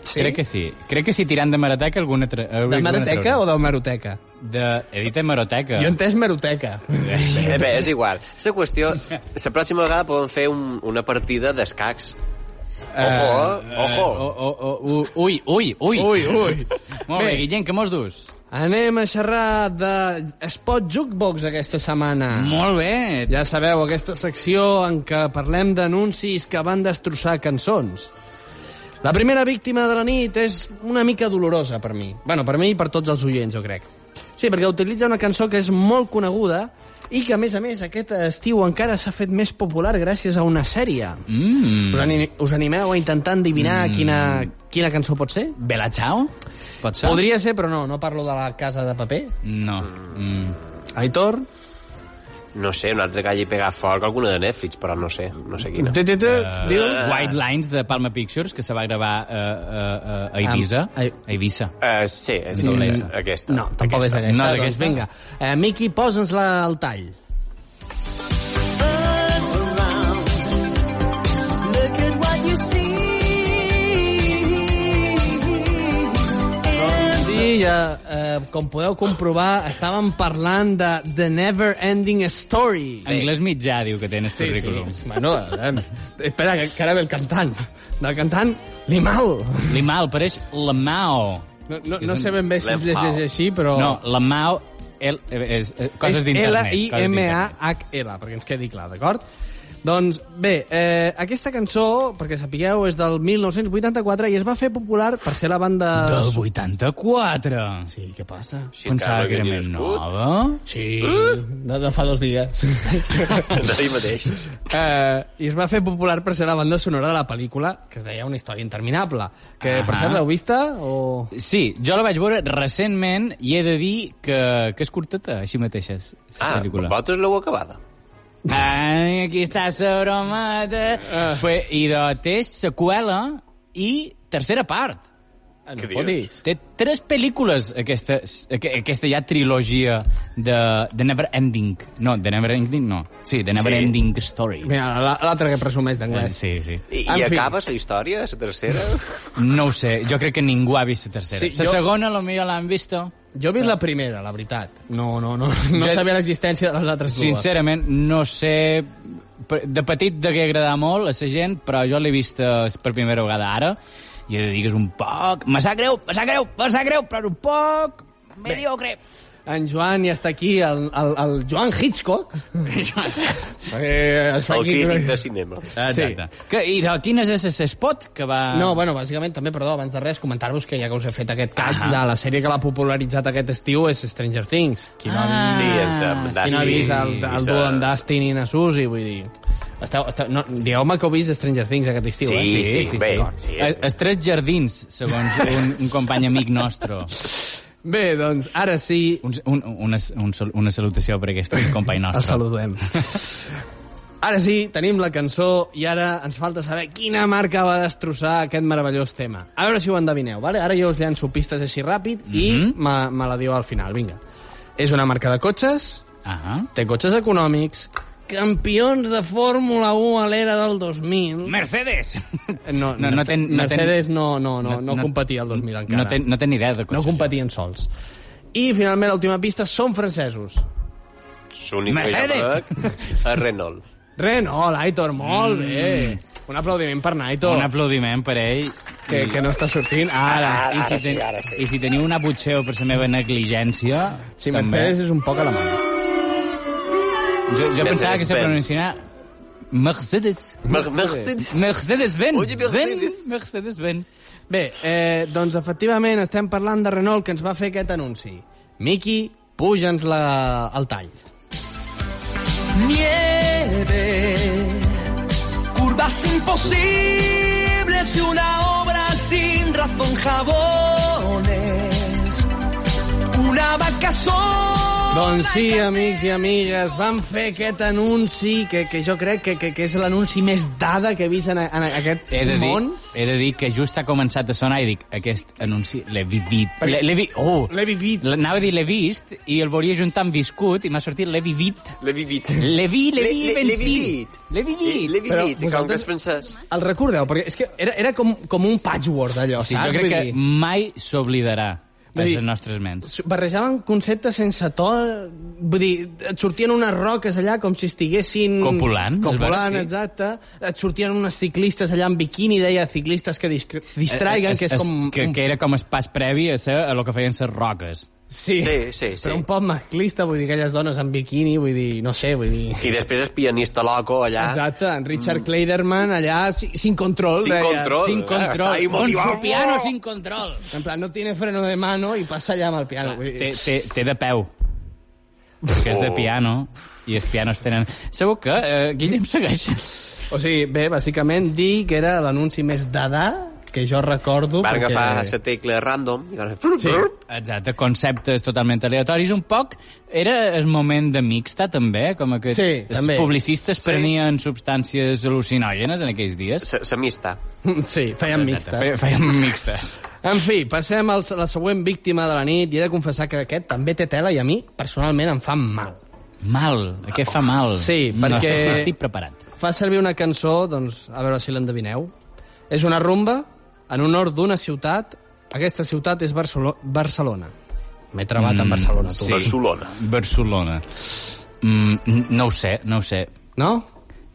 [SPEAKER 3] Sí?
[SPEAKER 2] Crec que sí. Crec que si tirant de Marateca alguna... Tra...
[SPEAKER 3] De maroteca o d'hemeroteca?
[SPEAKER 2] De... He dit Maroteca.
[SPEAKER 3] Jo he entès maroteca.
[SPEAKER 4] Sí, bé, és igual. La qüestió... La pròxima vegada podem fer un, una partida d'escacs. Ojo, eh? Ojo.
[SPEAKER 2] O, o, o, oh, u- ui, ui, ui.
[SPEAKER 3] Oh. Ui, ui.
[SPEAKER 2] Molt bé,
[SPEAKER 3] Bé.
[SPEAKER 2] Guillem, que mos dus?
[SPEAKER 3] Anem a xerrar de Spot Jukebox aquesta setmana.
[SPEAKER 2] Molt bé.
[SPEAKER 3] Ja sabeu, aquesta secció en què parlem d'anuncis que van destrossar cançons. La primera víctima de la nit és una mica dolorosa per mi. bueno, per mi i per tots els oients, jo crec. Sí, perquè utilitza una cançó que és molt coneguda i que, a més a més, aquest estiu encara s'ha fet més popular gràcies a una sèrie.
[SPEAKER 2] Mm.
[SPEAKER 3] Us, ani us animeu a intentar endivinar quina, quina cançó pot ser?
[SPEAKER 2] Bella Ciao? Pot ser?
[SPEAKER 3] Podria ser, però no, no parlo de la casa de paper.
[SPEAKER 2] No. Mm.
[SPEAKER 3] Aitor?
[SPEAKER 4] No sé, un altre que hagi pegat foc, alguna de Netflix, però no sé, no sé quina.
[SPEAKER 3] Té, té, té, diu?
[SPEAKER 2] White Lines de Palma Pictures, que se va gravar eh, eh, eh, a Ibiza.
[SPEAKER 3] Am- ai-
[SPEAKER 2] A Ibiza.
[SPEAKER 4] Uh, sí, és
[SPEAKER 2] No,
[SPEAKER 4] aquesta.
[SPEAKER 2] no.
[SPEAKER 4] aquesta.
[SPEAKER 3] No, tampoc
[SPEAKER 2] Aquesta.
[SPEAKER 3] és aquesta.
[SPEAKER 2] No és
[SPEAKER 3] doncs
[SPEAKER 2] aquesta?
[SPEAKER 3] Vinga, eh, Miqui, posa'ns la al tall. Doncs Sí, ja, eh, com podeu comprovar, estàvem parlant de The Never Ending Story.
[SPEAKER 2] Anglès mitjà diu que tens sí, currículum. Sí.
[SPEAKER 3] Bueno, eh, espera, que encara ve el cantant. Del cantant, Limal.
[SPEAKER 2] Limal, pareix Lamao.
[SPEAKER 3] No, no, no sé ben bé si es
[SPEAKER 4] Limal.
[SPEAKER 3] llegeix així, però...
[SPEAKER 2] No, Lamao... El, eh, és, eh, coses
[SPEAKER 3] Oh. és
[SPEAKER 2] d'internet. coses d'internet.
[SPEAKER 3] L-I-M-A-H-L, perquè ens quedi clar, d'acord? Doncs bé, eh, aquesta cançó, perquè sapigueu, és del 1984 i es va fer popular per ser la banda...
[SPEAKER 2] Del 84!
[SPEAKER 3] Sí, què passa?
[SPEAKER 4] Si
[SPEAKER 2] Pensava
[SPEAKER 4] encara
[SPEAKER 2] que era
[SPEAKER 4] no havia
[SPEAKER 2] més
[SPEAKER 4] nascut.
[SPEAKER 2] nova.
[SPEAKER 3] Sí, de, de fa dos dies.
[SPEAKER 4] D'ahir mateix.
[SPEAKER 3] Eh, I es va fer popular per ser la banda sonora de la pel·lícula, que es deia Una història interminable. Que, per
[SPEAKER 2] Ahà.
[SPEAKER 3] cert, l'heu vista? O...
[SPEAKER 2] Sí, jo la vaig veure recentment i he de dir que, que és curteta, així mateixa, la
[SPEAKER 4] Ah,
[SPEAKER 2] pel·lícula.
[SPEAKER 4] vosaltres l'heu acabada.
[SPEAKER 2] Ai, aquí està la bromata. Pues, I de, té seqüela i tercera part.
[SPEAKER 3] No
[SPEAKER 4] Què
[SPEAKER 3] fotis.
[SPEAKER 4] dius?
[SPEAKER 2] Té tres pel·lícules, aquesta, aqu- aquesta ja trilogia de, de Never Ending. No, de Never Ending no. Sí, de Never
[SPEAKER 4] Sí.
[SPEAKER 2] Ending Story. Eh,
[SPEAKER 3] Mira, eh. la- l'altra que presumeix d'anglès.
[SPEAKER 2] Ah, Sí, sí.
[SPEAKER 4] I,
[SPEAKER 3] En
[SPEAKER 4] i
[SPEAKER 3] fi.
[SPEAKER 4] acaba la història, la tercera?
[SPEAKER 2] No ho sé, jo crec que ningú ha vist la tercera.
[SPEAKER 3] Sí,
[SPEAKER 2] La
[SPEAKER 3] jo-
[SPEAKER 2] segona, la millor l'han vist.
[SPEAKER 3] Jo he vist
[SPEAKER 2] Ah.
[SPEAKER 3] la primera, la veritat. No, no, no, no
[SPEAKER 2] Jo-
[SPEAKER 3] sabia l'existència de les altres dues.
[SPEAKER 2] Sincerament, no sé... per- De petit degué agradar molt a la gent, però jo l'he vist eh, per primera vegada ara, i he de dir que és un poc... Me sap greu, me sap greu, me sap greu, però és un poc... Mediocre.
[SPEAKER 3] En Joan ja està aquí, el, el, el Joan Hitchcock. eh, es fa
[SPEAKER 4] El
[SPEAKER 3] aquí-
[SPEAKER 4] crític de cinema.
[SPEAKER 2] Exacte. Sí. Que, I de quin és ese spot que va...
[SPEAKER 3] No, bueno, bàsicament, també, perdó, abans de res, comentar-vos que ja que us he fet aquest cas
[SPEAKER 2] Ahà.
[SPEAKER 3] de la sèrie que l'ha popularitzat aquest estiu és Stranger Things. Qui no,
[SPEAKER 2] Ah,
[SPEAKER 4] Sí, en Sam
[SPEAKER 3] qui no ha
[SPEAKER 4] Dustin
[SPEAKER 3] vist el,
[SPEAKER 4] i
[SPEAKER 3] el
[SPEAKER 4] ses-
[SPEAKER 3] duo en Dustin i na Susi, vull dir... Esteu, esteu, no, Digueu-me que heu vist Stranger Things aquest estiu,
[SPEAKER 4] Sí,
[SPEAKER 3] eh?
[SPEAKER 4] sí, sí, bé,
[SPEAKER 2] d'acord.
[SPEAKER 4] sí.
[SPEAKER 2] Eh, Els tres jardins, segons un, un company amic nostre.
[SPEAKER 3] Bé, doncs, ara sí,
[SPEAKER 2] Un, un, una, un, sal- una salutació per aquest company
[SPEAKER 3] El
[SPEAKER 2] nostre.
[SPEAKER 3] saludem. Ara sí, tenim la cançó i ara ens falta saber quina marca va destrossar aquest meravellós tema. A veure si ho endevineu, vale? Ara jo us llanço pistes així ràpid i
[SPEAKER 2] Mhm.
[SPEAKER 3] me, me la diu al final, vinga. És una marca de cotxes,
[SPEAKER 2] Ah,
[SPEAKER 3] té cotxes econòmics, campions de Fórmula 1 a l'era del 2000...
[SPEAKER 2] Mercedes!
[SPEAKER 3] No,
[SPEAKER 2] No, no ten- no ten-
[SPEAKER 3] Mercedes no, no, no, no, competia al 2000 encara.
[SPEAKER 2] No ten, no ten ni idea de
[SPEAKER 3] no
[SPEAKER 2] cotxes.
[SPEAKER 3] competien sols. I, finalment, l'última pista, són francesos.
[SPEAKER 4] L'únic que jo
[SPEAKER 2] Mercedes!
[SPEAKER 4] conec és Renault.
[SPEAKER 3] Renault, Aitor, molt bé. Mm. Un aplaudiment per Aitor,
[SPEAKER 2] Un aplaudiment per ell.
[SPEAKER 3] que, que no està sortint. Ara,
[SPEAKER 2] I si, ten... I si teniu un abutxeu per la meva negligència...
[SPEAKER 3] si
[SPEAKER 2] també...
[SPEAKER 3] Mercedes és un poc alemany.
[SPEAKER 2] Jo, jo pensava que se
[SPEAKER 4] Mercedes-Benz.
[SPEAKER 2] pronunciava... Mercedes.
[SPEAKER 4] Mer- Mercedes!
[SPEAKER 2] Mercedes-Benz.
[SPEAKER 4] Oye, Mercedes.
[SPEAKER 2] Ben, Mercedes-Benz.
[SPEAKER 3] Bé, eh, doncs efectivament estem parlant de Renault, que ens va fer aquest anunci. Miki, puja'ns la, el tall.
[SPEAKER 6] nieve, curvas imposibles y una obra sin razón jabones, una vaca sola.
[SPEAKER 3] Doncs sí, amics i amigues, van fer aquest anunci que, que jo crec que, que, que és l'anunci més dada que he vist en, a- en aquest
[SPEAKER 2] He de, dir,
[SPEAKER 3] món.
[SPEAKER 2] he de dir que just ha començat a sonar i dic, aquest anunci l'he vivit. L'he l'he vi... Oh!
[SPEAKER 3] L'he vivit.
[SPEAKER 2] Anava a dir l'he vist i el volia juntar amb viscut i m'ha sortit l'he vivit.
[SPEAKER 4] L'he vivit.
[SPEAKER 2] L'he vi, l'he vi,
[SPEAKER 4] L'he- l'he- l'he
[SPEAKER 2] vencit.
[SPEAKER 4] vivit.
[SPEAKER 2] L'he
[SPEAKER 4] I- L'he
[SPEAKER 2] vivit.
[SPEAKER 3] Però
[SPEAKER 4] vivit, i com que
[SPEAKER 3] vosaltres-
[SPEAKER 4] és francès.
[SPEAKER 3] El recordeu, perquè és que era, era com, com un patchwork allò,
[SPEAKER 2] Sí,
[SPEAKER 3] saps?
[SPEAKER 2] jo crec
[SPEAKER 3] Vull
[SPEAKER 2] que
[SPEAKER 3] dir-
[SPEAKER 2] mai s'oblidarà a
[SPEAKER 3] Vull dir-
[SPEAKER 2] les nostres ments.
[SPEAKER 3] barrejaven conceptes sense to, vull dir, et sortien unes roques allà com si estiguessin...
[SPEAKER 2] Copulant, es
[SPEAKER 3] Copulant,
[SPEAKER 2] veure, sí.
[SPEAKER 3] exacte. Et sortien unes ciclistes allà en biquini, deia ciclistes que discre- distraiguen,
[SPEAKER 2] Eh, Es-
[SPEAKER 3] que
[SPEAKER 2] es-
[SPEAKER 3] és com...
[SPEAKER 2] Que,
[SPEAKER 3] un...
[SPEAKER 2] que era com el pas previ a, ser, a lo que feien les roques.
[SPEAKER 3] Sí,
[SPEAKER 4] Sí, sí, sí.
[SPEAKER 3] però un poc masclista, vull dir, aquelles dones en biquini, vull dir, no sé, vull dir...
[SPEAKER 4] I després és pianista loco allà.
[SPEAKER 3] Exacte, en Richard Clayderman allà, si- sin control,
[SPEAKER 4] Mm. Sin
[SPEAKER 3] deia.
[SPEAKER 4] control.
[SPEAKER 2] Sin
[SPEAKER 4] eh,
[SPEAKER 2] control.
[SPEAKER 4] està ahí
[SPEAKER 2] Con
[SPEAKER 4] motivado.
[SPEAKER 2] su
[SPEAKER 3] Oh.
[SPEAKER 2] piano sin control.
[SPEAKER 3] En plan, no tiene freno de mano i passa allà amb el
[SPEAKER 4] Ah,
[SPEAKER 3] piano. vull dir.
[SPEAKER 2] Ah, Té, té, té de peu. Perquè és de
[SPEAKER 4] Oh.
[SPEAKER 2] piano. I els pianos tenen... Segur que, eh, Guillem, segueix.
[SPEAKER 3] O sigui, bé, bàsicament dir que era l'anunci més d'edà que jo recordo.
[SPEAKER 4] Va
[SPEAKER 3] perquè-
[SPEAKER 4] agafar la tecla random i va fer... Sí.
[SPEAKER 2] Exacte, conceptes totalment aleatoris. Un poc era el moment de mixta, també, com que
[SPEAKER 3] Sí,
[SPEAKER 2] els
[SPEAKER 3] també.
[SPEAKER 2] publicistes
[SPEAKER 4] Sí.
[SPEAKER 2] prenien substàncies al·lucinògenes en aquells dies.
[SPEAKER 4] S'amista.
[SPEAKER 3] Sí,
[SPEAKER 2] Exacte,
[SPEAKER 3] feien mixtes.
[SPEAKER 2] fe- Feien mixtes.
[SPEAKER 3] En fi, passem al, a la següent víctima de la nit i he de confessar que aquest també té tela i a mi personalment em fa mal.
[SPEAKER 2] Mal, què fa mal?
[SPEAKER 3] Sí,
[SPEAKER 2] No sé
[SPEAKER 3] perquè-
[SPEAKER 2] si estic preparat.
[SPEAKER 3] Fa servir una cançó, doncs, a veure si l'endevineu. És una rumba en honor d'una ciutat. Aquesta ciutat és Barcelo Barcelona. M'he trebat mm, en Barcelona, tu.
[SPEAKER 2] Sí.
[SPEAKER 4] Barcelona.
[SPEAKER 2] Barcelona. Mm, n- no ho sé, no ho sé.
[SPEAKER 3] No?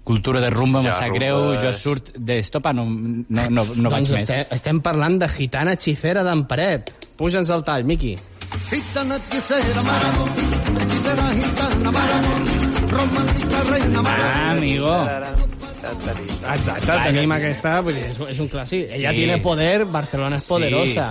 [SPEAKER 2] Cultura de rumba,
[SPEAKER 4] Ja,
[SPEAKER 2] ja, sap greu,
[SPEAKER 4] rumbes.
[SPEAKER 2] jo surt d'estopa, no, no, no, no vaig
[SPEAKER 3] doncs
[SPEAKER 2] més.
[SPEAKER 3] estem, estem parlant de Gitana Hechicera d'en Paret. Puja'ns al tall, Miqui.
[SPEAKER 7] Gitana hechicera, marabú, hechicera gitana, marabú, romántica reina madre.
[SPEAKER 2] Ah, amigo.
[SPEAKER 3] Exacte,
[SPEAKER 2] Vaja,
[SPEAKER 3] tenim
[SPEAKER 2] tio.
[SPEAKER 3] aquesta... Vull dir, és, és un clàssic.
[SPEAKER 2] Sí.
[SPEAKER 3] Ella tiene poder, Barcelona és
[SPEAKER 2] Sí.
[SPEAKER 3] poderosa.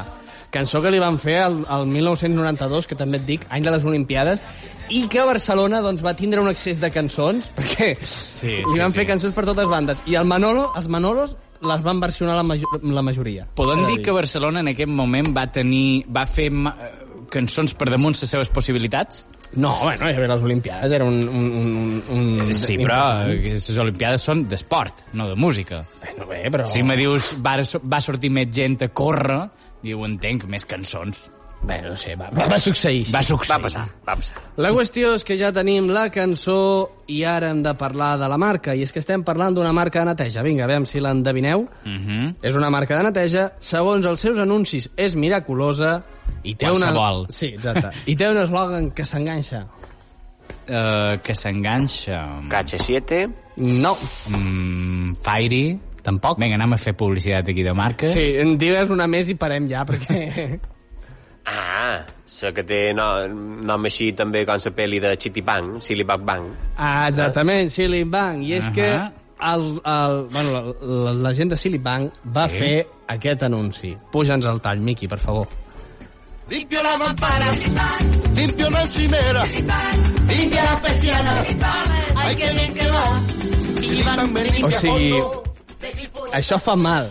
[SPEAKER 3] Cançó que li van fer al, al 1992, que també et dic, any de les Olimpiades, i que Barcelona doncs, va tindre un excés de cançons, perquè sí,
[SPEAKER 2] sí,
[SPEAKER 3] li van
[SPEAKER 2] sí.
[SPEAKER 3] fer cançons per totes bandes. I el Manolo, els Manolos les van versionar la, major, la majoria.
[SPEAKER 2] Podem
[SPEAKER 3] És a
[SPEAKER 2] dir que Barcelona en aquest moment va tenir... va fer ma- eh, cançons per damunt les seves possibilitats?
[SPEAKER 3] No, bueno, ja ve les Olimpiades, era un... un, un, un
[SPEAKER 2] Sí, però eh, les Olimpiades són d'esport, no de música.
[SPEAKER 3] Bueno, bé, però...
[SPEAKER 2] Si me dius va, va sortir més gent a córrer, diu, entenc, més cançons.
[SPEAKER 3] Bé, no sé, va, va succeir.
[SPEAKER 2] Va succeir.
[SPEAKER 4] Va passar, va passar.
[SPEAKER 3] La qüestió és que ja tenim la cançó i ara hem de parlar de la marca, i és que estem parlant d'una marca de neteja. Vinga, a veure si l'endevineu.
[SPEAKER 2] Mhm.
[SPEAKER 3] És una marca de neteja, segons els seus anuncis és miraculosa... I té
[SPEAKER 2] Qualsevol.
[SPEAKER 3] Una... Sí, exacte. I té un eslògan que s'enganxa.
[SPEAKER 2] Eh, que s'enganxa.
[SPEAKER 4] Cache 7,
[SPEAKER 3] No.
[SPEAKER 2] Mm, Fairy.
[SPEAKER 3] Tampoc.
[SPEAKER 2] Vinga, anem a fer publicitat aquí de marques.
[SPEAKER 3] Sí, en digues una més i parem ja, perquè...
[SPEAKER 4] Ah, la que té no, nom així també com la pel·li de Chitipang, Silly Bang Bang.
[SPEAKER 3] Ah, exactament, Silly Bank. I és
[SPEAKER 2] Ahà.
[SPEAKER 3] que el, el, bueno, la, la, la gent de Silly Bank va sí. fer aquest anunci. Puja'ns al tall, Miqui, per favor.
[SPEAKER 7] Limpio la mampara, limpio la encimera, limpia la persiana. Ay, qué bien que va. Silipan, me limpia
[SPEAKER 3] O sigui,
[SPEAKER 7] fondo.
[SPEAKER 3] Això fa mal.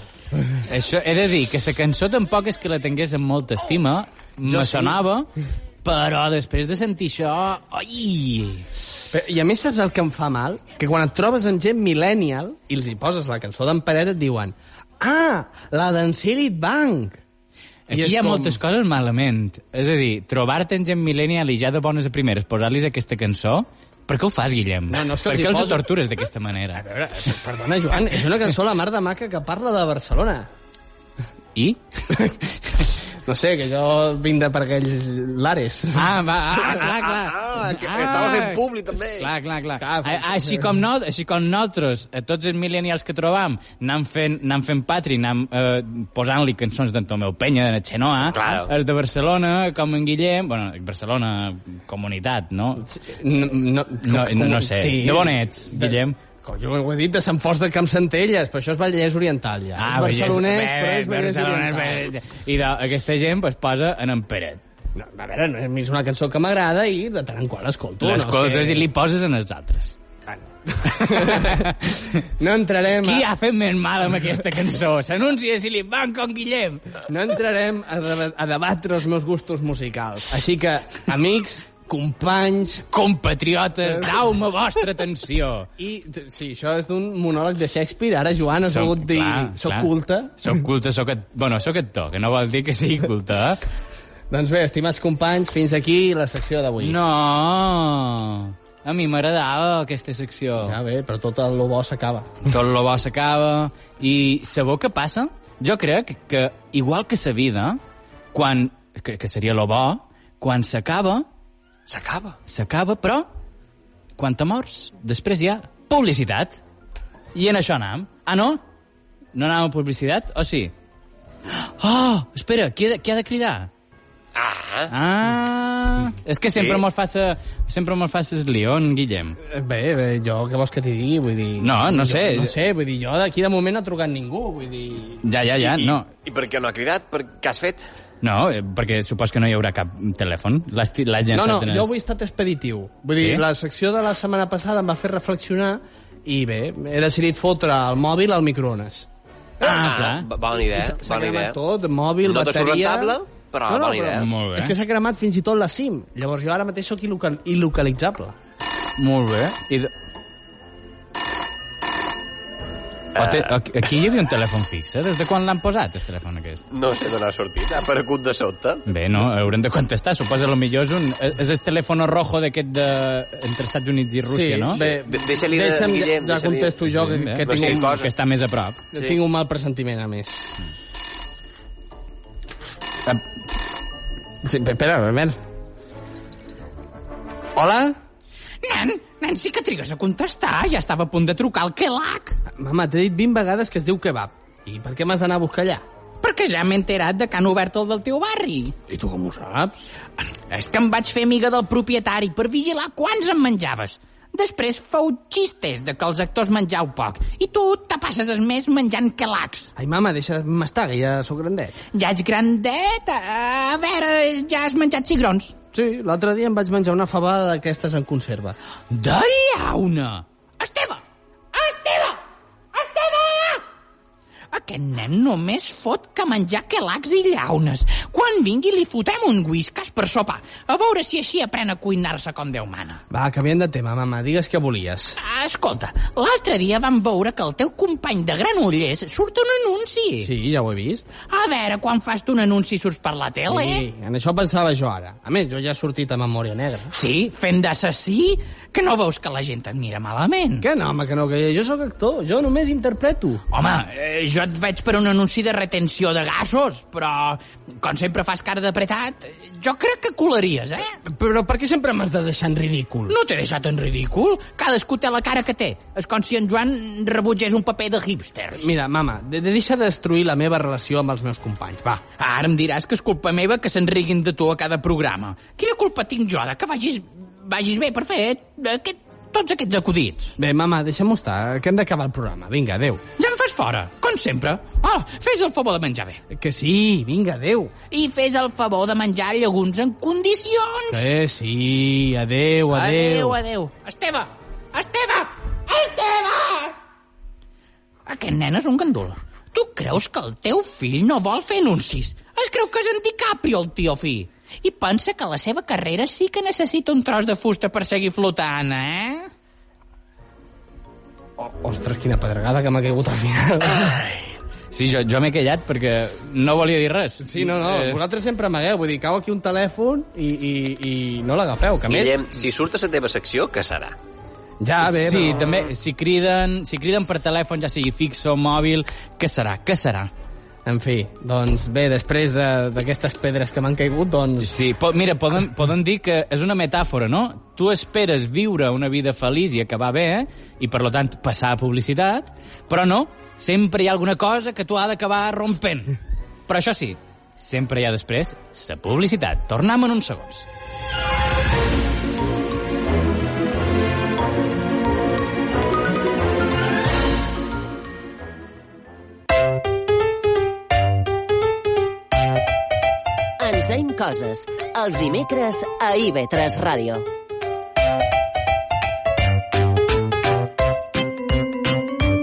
[SPEAKER 2] Això, he de dir que la cançó tampoc és que la tingués amb molta estima, me sonava, però després de sentir això... Ai!
[SPEAKER 3] Però, I a més saps el que em fa mal? Que quan et trobes amb gent millennial i els hi poses la cançó d'en Peret et diuen Ah, la d'en Silit Bank. I
[SPEAKER 2] Aquí
[SPEAKER 3] és
[SPEAKER 2] hi ha
[SPEAKER 3] com-
[SPEAKER 2] moltes coses malament. És a dir, trobar-te en gent millennial i ja de bones a primeres posar-los aquesta cançó... Per què ho fas, Guillem?
[SPEAKER 3] No, no, és que
[SPEAKER 2] per
[SPEAKER 3] els hi
[SPEAKER 2] què els
[SPEAKER 3] poso-
[SPEAKER 2] tortures d'aquesta manera?
[SPEAKER 3] Perdona, Joan, és una cançó la mar de maca que parla de Barcelona.
[SPEAKER 2] I?
[SPEAKER 3] No sé, que jo vinc de per aquells lares.
[SPEAKER 2] Ah, va, ah, ah, clar, clar.
[SPEAKER 4] Ah, que estava fent públic, també.
[SPEAKER 2] Clar, clar, clar.
[SPEAKER 3] Clar,
[SPEAKER 2] Ah, ah, així, com no, així com nosaltres, a tots els millennials que trobam, anam fent, anam fent patri, anam eh, posant-li cançons d'en Tomeu Penya, de Xenoa,
[SPEAKER 4] Claro.
[SPEAKER 2] els de Barcelona, com en Guillem, bueno, Barcelona, comunitat, no?
[SPEAKER 3] No, no,
[SPEAKER 2] No, no, no sé.
[SPEAKER 3] Sí.
[SPEAKER 2] De on ets, Guillem?
[SPEAKER 3] Com jo ho he dit, de Sant Fost de Camp Centelles, però això és Vallès Oriental, ja. és
[SPEAKER 2] Ah, Vallès-
[SPEAKER 3] barcelonès,
[SPEAKER 2] bé,
[SPEAKER 3] però és
[SPEAKER 2] bé,
[SPEAKER 3] Vallès
[SPEAKER 2] Barcelona,
[SPEAKER 3] Oriental.
[SPEAKER 2] bé. I de, aquesta gent pues, posa en en Peret.
[SPEAKER 3] No, a veure, no, a mi és una cançó que m'agrada i de tant en qual l'escolto. no?
[SPEAKER 2] L'escoltes
[SPEAKER 3] És
[SPEAKER 2] i
[SPEAKER 3] que-
[SPEAKER 2] li poses en els altres.
[SPEAKER 3] No entrarem...
[SPEAKER 2] Qui
[SPEAKER 3] A,
[SPEAKER 2] ha fet més mal amb aquesta cançó? S'anuncia si li van com Guillem.
[SPEAKER 3] no entrarem a, deba- a debatre els meus gustos musicals. Així que, amics, companys...
[SPEAKER 2] Compatriotes, dau-me vostra atenció.
[SPEAKER 3] I, sí, això és d'un monòleg de Shakespeare. Ara, Joan, has volgut dir...
[SPEAKER 2] clar,
[SPEAKER 3] soc
[SPEAKER 2] clar.
[SPEAKER 3] culte.
[SPEAKER 2] Soc culte, soc... act- Bueno, soc actor, que no vol dir que sigui culte, eh?
[SPEAKER 3] Doncs bé, estimats companys, fins aquí la secció d'avui.
[SPEAKER 2] No! A mi m'agradava aquesta secció.
[SPEAKER 3] Ja bé, però tot el bo s'acaba.
[SPEAKER 2] tot lo bo s'acaba i sabeu què passa? Jo crec que igual que sa vida quan, que, que seria lo bo quan s'acaba
[SPEAKER 4] S'acaba.
[SPEAKER 2] s'acaba però quan te mors després hi ha publicitat i en això anàvem ah no? no anàvem a publicitat? o sí? oh, espera, qui ha de, qui ha de cridar?
[SPEAKER 4] Ah,
[SPEAKER 2] Ah, és que sempre
[SPEAKER 4] Sí.
[SPEAKER 2] mos fas sempre mos fas el lió, en Guillem.
[SPEAKER 3] Bé, bé, jo què vols que t'hi digui? Vull dir...
[SPEAKER 2] No, no sé.
[SPEAKER 3] Jo, no sé, vull dir, jo d'aquí de moment no ha trucat ningú, vull dir...
[SPEAKER 2] Ja, ja, ja, no.
[SPEAKER 4] I per què no ha cridat? Per què has fet?
[SPEAKER 2] No, eh, perquè supos que no hi haurà cap telèfon. L'has ti- l'has
[SPEAKER 3] No,
[SPEAKER 2] llançat
[SPEAKER 3] no,
[SPEAKER 2] en els-
[SPEAKER 3] jo avui he estat expeditiu. Vull dir,
[SPEAKER 2] Sí?
[SPEAKER 3] la secció de la setmana passada em va fer reflexionar i bé, he decidit fotre el mòbil al microones.
[SPEAKER 2] Ah, clar.
[SPEAKER 4] bo- Bona idea,
[SPEAKER 3] S'ha
[SPEAKER 4] bona idea.
[SPEAKER 3] cremat tot, mòbil,
[SPEAKER 4] No te surt
[SPEAKER 3] bateria...
[SPEAKER 4] rentable, però bona idea.
[SPEAKER 2] Molt bé.
[SPEAKER 3] És que s'ha cremat fins i tot la SIM. Llavors jo ara mateix sóc il·local... il·localitzable.
[SPEAKER 2] Molt bé. I... De... O
[SPEAKER 3] Eh.
[SPEAKER 2] te... o- Aquí hi havia un telèfon fix, eh? Des de quan l'han posat, el telèfon aquest?
[SPEAKER 4] No sé d'on ha sortit, ha aparegut de sobte.
[SPEAKER 2] Bé, no, haurem de contestar. Suposa lo millor és un... És el telèfon rojo d'aquest de... entre Estats Units i Rússia, no?
[SPEAKER 3] bé,
[SPEAKER 4] De- deixa-li de-
[SPEAKER 3] deixa'm,
[SPEAKER 4] Guillem,
[SPEAKER 3] ja
[SPEAKER 4] deixa-li-
[SPEAKER 3] contesto jo, que,
[SPEAKER 2] Bé,
[SPEAKER 3] que,
[SPEAKER 2] però
[SPEAKER 3] tinc,
[SPEAKER 2] sí,
[SPEAKER 3] un,
[SPEAKER 4] cosa.
[SPEAKER 2] que està més a prop.
[SPEAKER 3] que tinc un mal pressentiment, a més.
[SPEAKER 2] Em-
[SPEAKER 3] Ah. Sí, espera, a veure. Hola?
[SPEAKER 2] Nen, nen, sí que trigues a contestar. Ja estava a punt de trucar al Kelac.
[SPEAKER 3] Mama, t'he dit 20 vegades que es diu kebab. I per què m'has d'anar a buscar allà?
[SPEAKER 2] Perquè ja m'he enterat de que han obert el del teu barri.
[SPEAKER 3] I tu com ho saps?
[SPEAKER 2] És que em vaig fer amiga del propietari per vigilar quants en menjaves.
[SPEAKER 8] Després feu xistes de que els actors menjau poc i tu te passes el mes menjant calacs.
[SPEAKER 3] Ai, mama, deixa de m'estar, que ja sóc grandet.
[SPEAKER 8] Ja ets grandet, a veure, ja has menjat cigrons.
[SPEAKER 3] Sí, l'altre dia em vaig menjar una fabada d'aquestes en conserva.
[SPEAKER 2] De llauna!
[SPEAKER 8] Esteve! Esteve! Esteve! Aquest nen només fot que menjar quelacs i llaunes. Quan vingui li fotem un whiskas per sopar, a veure si així aprèn a cuinar-se com Déu mana.
[SPEAKER 3] Va, canviem de tema, mama, digues què volies.
[SPEAKER 8] Ah, Escolta, l'altre dia vam veure que el teu company de Granollers surt un anunci.
[SPEAKER 3] Sí, ja ho he vist.
[SPEAKER 8] A veure, quan fas tu un anunci surts per la tele?
[SPEAKER 3] Sí, en això pensava jo ara. A més, jo ja he sortit a Memòria Negra.
[SPEAKER 8] Sí, fent d'assassí? Que no veus que la gent et mira malament?
[SPEAKER 3] Que no, home, que no, que jo sóc actor, jo només interpreto.
[SPEAKER 8] Home, eh, jo et veig per un anunci de retenció de gasos, però com sempre fas cara d'apretat, jo crec que colaries, eh?
[SPEAKER 3] Però per què sempre m'has de deixar en ridícul?
[SPEAKER 8] No t'he deixat en ridícul. Cadascú té la cara que té. És com si en Joan rebutgés un paper de hipsters.
[SPEAKER 3] Mira, mama, de, de deixa de destruir la meva relació amb els meus companys, va.
[SPEAKER 8] Ara em diràs que és culpa meva que se'n riguin de tu a cada programa. Quina culpa tinc jo de que vagis, vagis bé per fer aquest, tots aquests acudits?
[SPEAKER 3] Bé, mama, deixem-ho estar, que hem d'acabar el programa. Vinga, adeu.
[SPEAKER 8] Ja em fas fora, com sempre. Oh, fes el favor de menjar bé.
[SPEAKER 3] Que sí, vinga, adeu.
[SPEAKER 8] I fes el favor de menjar llegums en condicions.
[SPEAKER 3] Que sí, adeu, adeu.
[SPEAKER 8] Adéu, adéu. Esteve! Esteve! Esteve! Aquest nen és un gandul. Tu creus que el teu fill no vol fer anuncis? Es creu que és en DiCaprio, el tio fi. I pensa que la seva carrera sí que necessita un tros de fusta per seguir flotant, eh?
[SPEAKER 3] Ostres, quina pedregada que m'ha caigut al final.
[SPEAKER 2] Sí, jo, jo m'he callat perquè no volia dir res.
[SPEAKER 3] Sí, no, no, eh... vosaltres sempre amagueu, vull dir, cau aquí un telèfon i, i, i no l'agafeu, que a més...
[SPEAKER 4] Guillem, si surt a la teva secció, què serà?
[SPEAKER 3] Ja, bé,
[SPEAKER 2] sí,
[SPEAKER 3] però...
[SPEAKER 2] també, si criden, si criden per telèfon, ja sigui fix o mòbil, què serà? Què serà?
[SPEAKER 3] En fi, doncs bé, després de- d'aquestes pedres que m'han caigut, doncs...
[SPEAKER 2] Sí, po mira, poden, poden dir que és una metàfora, no? Tu esperes viure una vida feliç i acabar bé, i per lo tant passar a publicitat, però no, sempre hi ha alguna cosa que tu ha d'acabar rompent. Però això sí, sempre hi ha després la publicitat. Tornem en uns segons.
[SPEAKER 1] Ens deim coses. Els dimecres a IB3 Ràdio.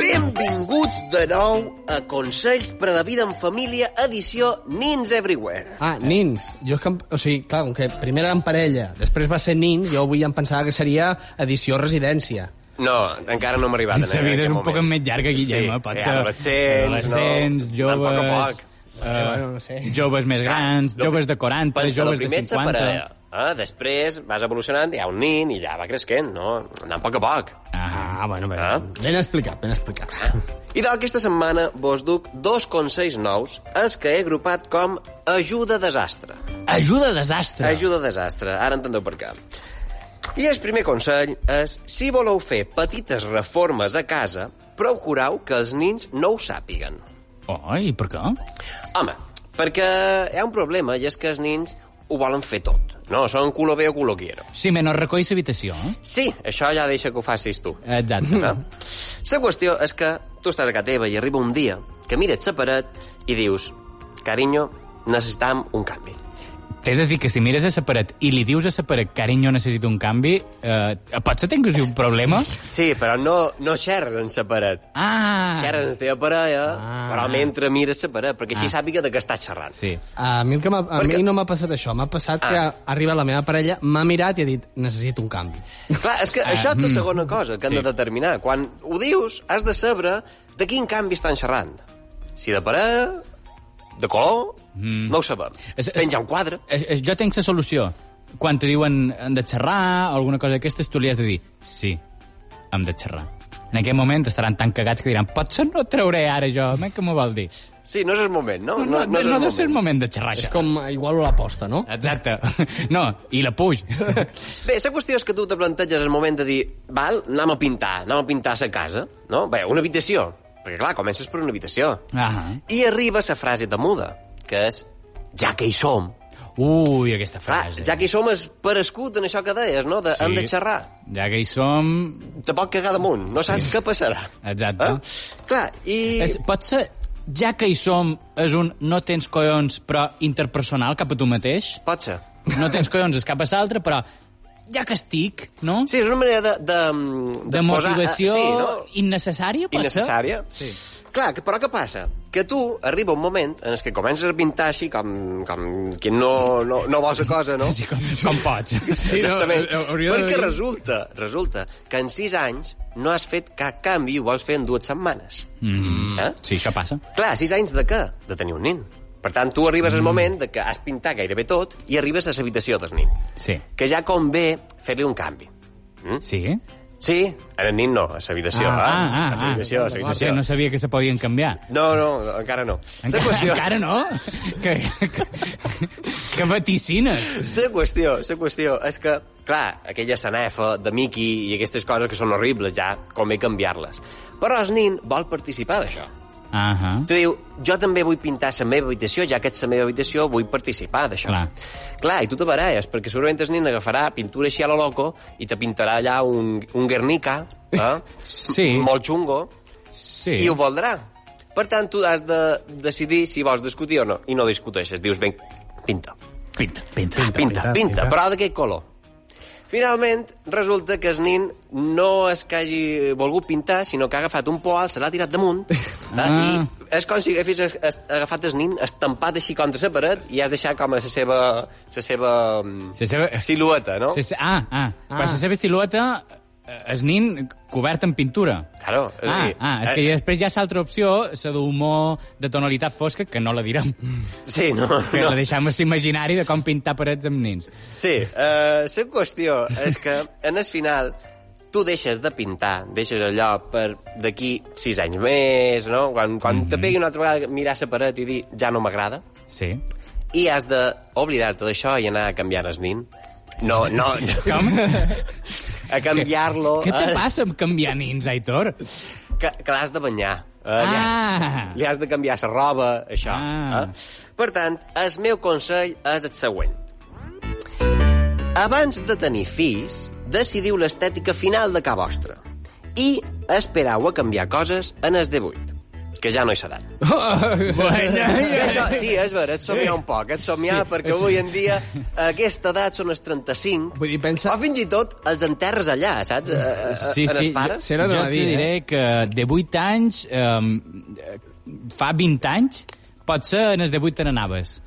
[SPEAKER 4] Benvinguts de nou a Consells per a la vida en família, edició Nins Everywhere.
[SPEAKER 3] Ah, nins. Jo és que, em- o sigui, clar, com que primer era en parella, després va ser nins, jo avui ja em pensava que seria edició residència.
[SPEAKER 4] No, encara no hem arribat.
[SPEAKER 2] La
[SPEAKER 4] en
[SPEAKER 2] vida és
[SPEAKER 4] aquest
[SPEAKER 2] un poc
[SPEAKER 4] moment.
[SPEAKER 2] més llarga, Guillem,
[SPEAKER 4] Sí,
[SPEAKER 2] eh? pot
[SPEAKER 4] eh,
[SPEAKER 2] ser
[SPEAKER 4] adolescents,
[SPEAKER 2] adolescents,
[SPEAKER 4] no?
[SPEAKER 2] joves...
[SPEAKER 4] A poc a poc.
[SPEAKER 2] eh,
[SPEAKER 3] bueno, no sé.
[SPEAKER 2] joves més grans,
[SPEAKER 4] Lo-
[SPEAKER 2] joves de 40,
[SPEAKER 4] pensa, lo
[SPEAKER 2] joves de
[SPEAKER 4] primer ets a
[SPEAKER 2] 50...
[SPEAKER 4] parella, Eh? Després vas evolucionant, hi ha un nin i ja va cresquent, no? Anant a poc a poc.
[SPEAKER 3] Ah, bueno, bé.
[SPEAKER 4] Ah.
[SPEAKER 3] Ben explicat, ben explicat.
[SPEAKER 4] I doncs aquesta setmana vos duc dos consells nous, els que he agrupat com ajuda desastre.
[SPEAKER 2] Ajuda a desastre.
[SPEAKER 4] Ajuda desastre, ara entendeu per què. I el primer consell és, si voleu fer petites reformes a casa, procureu que els nins no ho sàpiguen.
[SPEAKER 2] Oh, i per què?
[SPEAKER 4] Home, perquè hi ha un problema, i és que els nins ho volen fer tot. No, són culo veo, culo quiero.
[SPEAKER 2] Sí, menys recolls habitació.
[SPEAKER 4] Sí, això ja deixa que ho facis tu.
[SPEAKER 2] Exacte.
[SPEAKER 4] Ah. La qüestió és que tu estàs a casa teva i arriba un dia que mires la paret i dius carinyo, necessitam un canvi.
[SPEAKER 2] T'he de dir que si mires a la paret i li dius a la paret carinyo, necessito un canvi, eh, potser tinguis un problema?
[SPEAKER 4] Sí, però no, no xerres en la paret.
[SPEAKER 2] Ah!
[SPEAKER 4] Xerres en la teva parella, ah. però mentre mires la paret, perquè així ah. sàpiga de què estàs xerrant.
[SPEAKER 2] Sí.
[SPEAKER 3] A mi, el que m'ha- a
[SPEAKER 4] Perquè-
[SPEAKER 3] mi no m'ha passat això, m'ha passat que
[SPEAKER 4] Ah.
[SPEAKER 3] arriba la meva parella, m'ha mirat i ha dit necessito un canvi.
[SPEAKER 4] Clar, és que això és la segona cosa que
[SPEAKER 2] Ah. Mm. Sí.
[SPEAKER 4] sí. hem de determinar. Quan ho dius, has de saber de quin canvi estan xerrant. Si de paret, de color, mm. no ho sabem.
[SPEAKER 2] És- és-
[SPEAKER 4] Penja un quadre.
[SPEAKER 2] Eh, eh, Jo tinc la solució. Quan te diuen hem de xerrar o alguna cosa d'aquestes, tu li has de dir sí, hem de xerrar. En aquell moment estaran tan cagats que diran potser no trauré ara jo, home, què m'ho vol dir?
[SPEAKER 4] Sí, no és el moment, no?
[SPEAKER 2] No, no, no,
[SPEAKER 4] és el
[SPEAKER 2] no deu ser el
[SPEAKER 4] moment.
[SPEAKER 2] moment de xerrar
[SPEAKER 3] És
[SPEAKER 2] això.
[SPEAKER 3] com eh, igual l'aposta, no?
[SPEAKER 2] Exacte. No, i la puig.
[SPEAKER 4] Bé, la qüestió és que tu te planteges el moment de dir val, anem a pintar, anem a pintar la casa, no? Bé, una habitació, perquè clar, comences per una habitació.
[SPEAKER 2] Ah,
[SPEAKER 4] I arriba la frase de muda, que és ja que hi som,
[SPEAKER 2] Ui, aquesta
[SPEAKER 4] Clar,
[SPEAKER 2] frase.
[SPEAKER 4] ja que hi som és per escut en això que deies, no? De, sí. Hem de xerrar.
[SPEAKER 2] Ja que hi som...
[SPEAKER 4] Te pot cagar damunt. No saps sí. què passarà.
[SPEAKER 2] Exacte.
[SPEAKER 4] Eh? Clar, i...
[SPEAKER 2] És, pot ser... Ja que hi som, és un no tens collons, però interpersonal cap a tu mateix.
[SPEAKER 4] Pot ser.
[SPEAKER 2] No tens collons, és cap a l'altre, però ja que estic, no?
[SPEAKER 4] Sí, és una manera de... De,
[SPEAKER 2] de motivació
[SPEAKER 4] Posar,
[SPEAKER 2] posar,
[SPEAKER 4] eh, sí, no?
[SPEAKER 2] innecessària, pot
[SPEAKER 4] Innecessària. Sí. Clar, que- però què passa? Que tu arriba un moment en el que comences a pintar així com, com qui no, no, no vol la cosa, no?
[SPEAKER 2] ser? Com, com pots. eh,
[SPEAKER 4] Sí, Exactament.
[SPEAKER 3] no, hauria de-
[SPEAKER 4] Perquè resulta, resulta que en sis anys no has fet cap canvi i ho vols fer en dues setmanes. Mm. Eh?
[SPEAKER 2] Sí, això passa.
[SPEAKER 4] Clar, sis anys de què? De tenir un nen. Per tant, tu arribes al moment de que has pintat gairebé tot i arribes a l'habitació del nen.
[SPEAKER 2] Sí.
[SPEAKER 4] Que ja convé fer-li un canvi.
[SPEAKER 2] Sí?
[SPEAKER 4] Sí, en el nen no, a l'habitació.
[SPEAKER 2] Ah,
[SPEAKER 4] eh? a l'habitació, a
[SPEAKER 2] Sí,
[SPEAKER 4] l'habitació.
[SPEAKER 2] Ah, no sabia que se podien canviar.
[SPEAKER 4] No, no, encara no.
[SPEAKER 2] Encara,
[SPEAKER 4] la qüestió,
[SPEAKER 2] encara no? Que, que, que vaticines.
[SPEAKER 4] La qüestió, la qüestió és que, clar, aquella sanefa de Mickey i aquestes coses que són horribles ja, com he canviar-les. Però el nin vol participar d'això.
[SPEAKER 2] Ah, ah.
[SPEAKER 4] Tu diu, jo també vull pintar la meva habitació, ja que és la meva habitació, vull participar d'això.
[SPEAKER 2] Clar.
[SPEAKER 4] Clar, i tu te baralles, perquè segurament el nen agafarà pintura així a lo loco i te pintarà allà un, un Guernica, eh?
[SPEAKER 2] Sí.
[SPEAKER 4] M- molt xungo,
[SPEAKER 2] Sí.
[SPEAKER 4] i ho voldrà. Per tant, tu has de decidir si vols discutir o no, i no discuteixes. Dius, ben, pinta. Ah,
[SPEAKER 2] Pinta, pinta,
[SPEAKER 4] Pinta, pinta, pinta, pinta. però d'aquest color. Finalment, resulta que el nin no és que hagi volgut pintar, sinó que ha agafat un poal, se l'ha tirat damunt,
[SPEAKER 2] Ah.
[SPEAKER 4] ah. i és com si hagués es- es- agafat el nin estampat així contra la paret i has deixat com a la seva, la seva mm,
[SPEAKER 2] Se seva...
[SPEAKER 4] silueta, no?
[SPEAKER 2] Se, se... Ah, ah, ah. Però se seva silueta eh, es nin cobert en pintura.
[SPEAKER 4] Claro, és a
[SPEAKER 2] ah,
[SPEAKER 4] dir, eh,
[SPEAKER 2] ah, és que després hi ha l'altra opció, la d'humor de tonalitat fosca, que no la direm,
[SPEAKER 4] Sí, no,
[SPEAKER 2] que
[SPEAKER 4] no.
[SPEAKER 2] la deixem imaginari de com pintar parets amb nins.
[SPEAKER 4] Sí, eh, la qüestió és que en el final tu deixes de pintar, deixes allò per d'aquí sis anys més, no? Quan, quan
[SPEAKER 2] Mhm.
[SPEAKER 4] mm -hmm. te pegui una altra vegada mirar la paret i dir ja no m'agrada,
[SPEAKER 2] Sí.
[SPEAKER 4] i has d'oblidar-te d'això i anar a canviar el nin. No, no,
[SPEAKER 2] Com?
[SPEAKER 4] a canviar-lo...
[SPEAKER 2] Què te
[SPEAKER 8] Ah.
[SPEAKER 4] eh,
[SPEAKER 2] passa amb canviar nins, Aitor?
[SPEAKER 4] Que, que l'has de banyar. Eh, li has-
[SPEAKER 2] Ah!
[SPEAKER 4] li has de canviar la roba, això.
[SPEAKER 2] Ah.
[SPEAKER 4] Eh? Per tant, el meu consell és el següent. Abans de tenir fills, decidiu l'estètica final de ca vostra i esperau a canviar coses en el D8, que ja no hi seran.
[SPEAKER 2] Bueno,
[SPEAKER 4] I això, sí, és vera, et somiar un poc, et somiar sí, perquè avui en dia a aquesta edat són els 35,
[SPEAKER 3] Vull dir, pensa-
[SPEAKER 4] o fins i tot els enterres allà, saps? A, a, a,
[SPEAKER 2] Sí,
[SPEAKER 4] en
[SPEAKER 2] sí,
[SPEAKER 4] els pares.
[SPEAKER 3] Serà de
[SPEAKER 2] jo
[SPEAKER 3] la
[SPEAKER 2] te
[SPEAKER 3] vida,
[SPEAKER 2] diré que de 8 anys, eh, fa 20 anys, potser en els de 8 te n'anaves.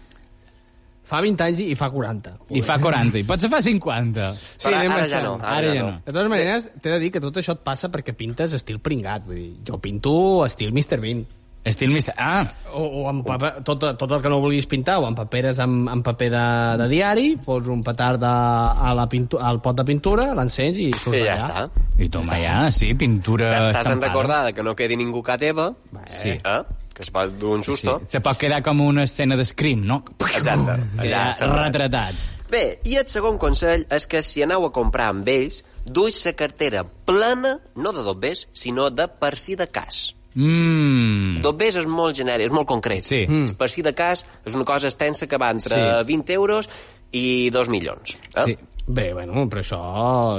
[SPEAKER 3] Fa 20 anys i fa 40.
[SPEAKER 2] I fa 40, i potser fa 50.
[SPEAKER 4] Però
[SPEAKER 3] anem
[SPEAKER 4] ara ja
[SPEAKER 3] baixant.
[SPEAKER 4] no, ara,
[SPEAKER 2] Ara
[SPEAKER 4] ja
[SPEAKER 2] ja
[SPEAKER 4] no.
[SPEAKER 2] no.
[SPEAKER 3] De totes maneres, t'he de dir que tot això et passa perquè pintes estil pringat. Vull dir, jo pinto estil Mr. Bean.
[SPEAKER 2] Estil mister... Ah,
[SPEAKER 3] O, o amb paper, tot, tot el que no vulguis pintar, o amb paperes amb, amb paper de, de diari, fots un petard de, a la pintu, al pot de pintura, l'encens i surt
[SPEAKER 4] I ja
[SPEAKER 3] allà.
[SPEAKER 4] està.
[SPEAKER 2] i toma ja, sí, pintura
[SPEAKER 4] T'has d'en
[SPEAKER 2] estampada.
[SPEAKER 4] recordar de que no quedi ningú que teva,
[SPEAKER 2] Sí.
[SPEAKER 4] eh? que es pot dur un
[SPEAKER 2] Sí,
[SPEAKER 4] susto. Sí.
[SPEAKER 2] se pot quedar com una escena d'escrim, no?
[SPEAKER 4] Exacte.
[SPEAKER 2] Allà,
[SPEAKER 4] Allà, separat.
[SPEAKER 2] retratat.
[SPEAKER 4] Bé, i el segon consell és que si aneu a comprar amb ells, duix la cartera plena, no de dobbers, sinó de per si de cas.
[SPEAKER 2] Mmm...
[SPEAKER 4] Dobbers és molt genèric, és molt concret.
[SPEAKER 2] Sí.
[SPEAKER 4] Mm. Per si de cas és una cosa extensa que va entre
[SPEAKER 2] Sí.
[SPEAKER 4] 20 euros i 2 milions. Eh?
[SPEAKER 2] Sí.
[SPEAKER 3] Bé, bueno, però això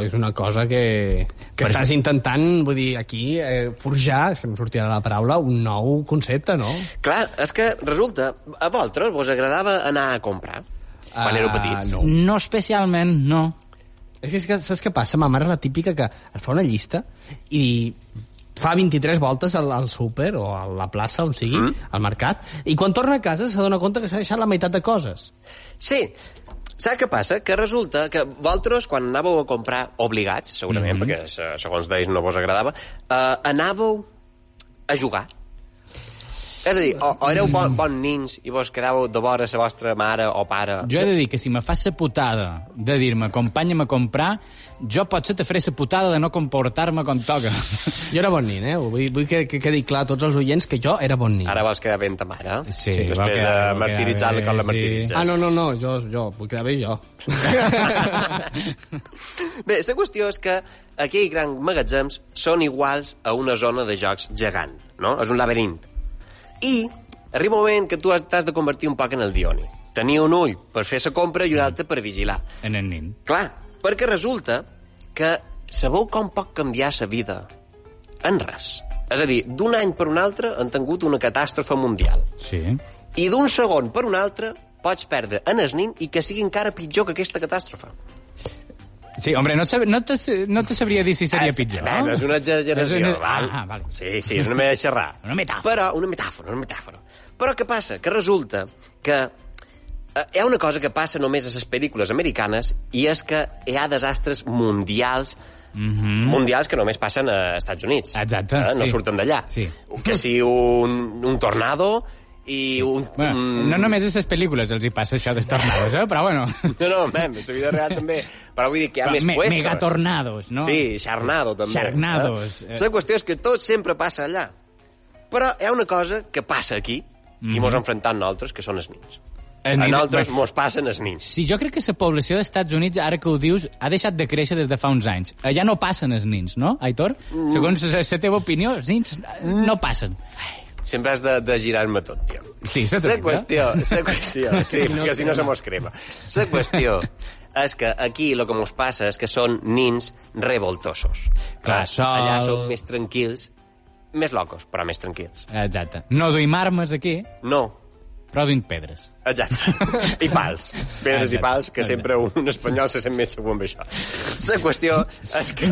[SPEAKER 3] és una cosa que, que
[SPEAKER 2] Per
[SPEAKER 3] estàs
[SPEAKER 2] això-
[SPEAKER 3] intentant, vull dir, aquí, eh, forjar, és que em sortirà la paraula, un nou concepte, no?
[SPEAKER 4] Clar, és que resulta, a vosaltres vos agradava anar a comprar quan
[SPEAKER 3] Ah,
[SPEAKER 4] éreu petits?
[SPEAKER 3] no.
[SPEAKER 2] No especialment, no.
[SPEAKER 3] És que, és que saps què passa? Ma mare és la típica que et fa una llista i fa 23 voltes al, al súper o a la plaça, on sigui, mm. al mercat, i quan torna a casa s'adona compte que s'ha deixat la meitat de coses.
[SPEAKER 4] Sí, saps què passa? Que resulta que vosaltres, quan anàveu a comprar obligats, segurament,
[SPEAKER 2] Mhm.
[SPEAKER 4] mm -hmm. perquè se- segons d'ells no vos agradava, eh, anàveu a jugar. És a dir, o, o éreu bon, bon nins i vos quedàveu de vora la vostra mare o pare...
[SPEAKER 2] Jo he de dir que si me fas la putada de dir-me acompanya'm a comprar, jo potser te faré la putada de no comportar-me com toca.
[SPEAKER 3] Jo era bon nin, eh? Vull, vull que, que quedi clar a tots els oients que jo era bon nin.
[SPEAKER 4] Ara vols quedar ben ta mare.
[SPEAKER 2] Sí, va quedar- va
[SPEAKER 4] Després de
[SPEAKER 2] quedar
[SPEAKER 4] martiritzar-la
[SPEAKER 2] bé,
[SPEAKER 4] com la
[SPEAKER 2] sí.
[SPEAKER 4] martiritzes.
[SPEAKER 3] Ah, no, no, no, jo, jo, vull quedar bé jo.
[SPEAKER 4] Bé, la qüestió és que aquells grans magatzems són iguals a una zona de jocs gegant, no? És un laberint. I arriba un moment que tu has- t'has de convertir un poc en el Dioni. Tenia un ull per fer la compra i un altre per vigilar.
[SPEAKER 2] En el nin.
[SPEAKER 4] Clar, perquè resulta que sabeu com pot canviar la vida? En res. És a dir, d'un any per un altre han tingut una catàstrofe mundial.
[SPEAKER 2] Sí.
[SPEAKER 4] I d'un segon per un altre pots perdre en el nin i que sigui encara pitjor que aquesta catàstrofe.
[SPEAKER 2] Sí, hombre, no, et sab... no, te... no te sabria dir si seria
[SPEAKER 4] És-
[SPEAKER 2] pitjor.
[SPEAKER 4] Bueno, és una
[SPEAKER 2] És
[SPEAKER 4] exageració,
[SPEAKER 2] una-
[SPEAKER 4] val?
[SPEAKER 2] Ah, vale.
[SPEAKER 4] Sí, sí, és una manera de xerrar.
[SPEAKER 2] Una metàfora.
[SPEAKER 4] Però, una metàfora, una metàfora. Però què passa? Que resulta que eh, hi ha una cosa que passa només a les pel·lícules americanes i és que hi ha desastres mundials mundials que només passen a Estats Units.
[SPEAKER 2] Mhm. Exacte,
[SPEAKER 4] Eh? No
[SPEAKER 2] sí.
[SPEAKER 4] surten d'allà.
[SPEAKER 2] Sí.
[SPEAKER 4] Que si un, un tornado i un...
[SPEAKER 2] Bueno,
[SPEAKER 4] un-
[SPEAKER 2] no només a les pel·lícules els hi passa això dels tornados, eh? però bueno...
[SPEAKER 4] No, no, mem, la vida real també. Però vull dir que hi ha
[SPEAKER 2] Però
[SPEAKER 4] més
[SPEAKER 2] me-
[SPEAKER 4] puestos.
[SPEAKER 2] megatornados, no?
[SPEAKER 4] Sí, xarnado, també.
[SPEAKER 2] Xarnados, eh.
[SPEAKER 4] Eh? La qüestió és que tot sempre passa allà. Però hi ha una cosa que passa aquí, i mos enfrontant nosaltres, que són els nins.
[SPEAKER 2] Els
[SPEAKER 4] a
[SPEAKER 2] Mhm. Eh, nins-
[SPEAKER 4] nosaltres
[SPEAKER 2] bé.
[SPEAKER 4] mos passen els nins.
[SPEAKER 2] Si jo crec que la població dels Estats Units, ara que ho dius, ha deixat de créixer des de fa uns anys. Allà no passen els nins, no, Aitor? Segons la teva opinió, els nins eh, no passen.
[SPEAKER 4] Sempre has de, de girar-me tot, tio.
[SPEAKER 2] Sí, s'ha
[SPEAKER 4] La
[SPEAKER 2] sentit,
[SPEAKER 4] qüestió, la qüestió, sí, perquè si no se mos crema. La qüestió és que aquí el que mos passa és que són nins revoltosos.
[SPEAKER 2] Clar, sol.
[SPEAKER 4] Allà són més tranquils, més locos, però més tranquils.
[SPEAKER 2] Exacte. No duim armes aquí,
[SPEAKER 4] No,
[SPEAKER 2] però duim pedres.
[SPEAKER 4] Exacte. I pals. Pedres i
[SPEAKER 2] Exacte.
[SPEAKER 4] pals, que
[SPEAKER 2] Exacte.
[SPEAKER 4] sempre un espanyol se sent més segur amb això. La qüestió és que...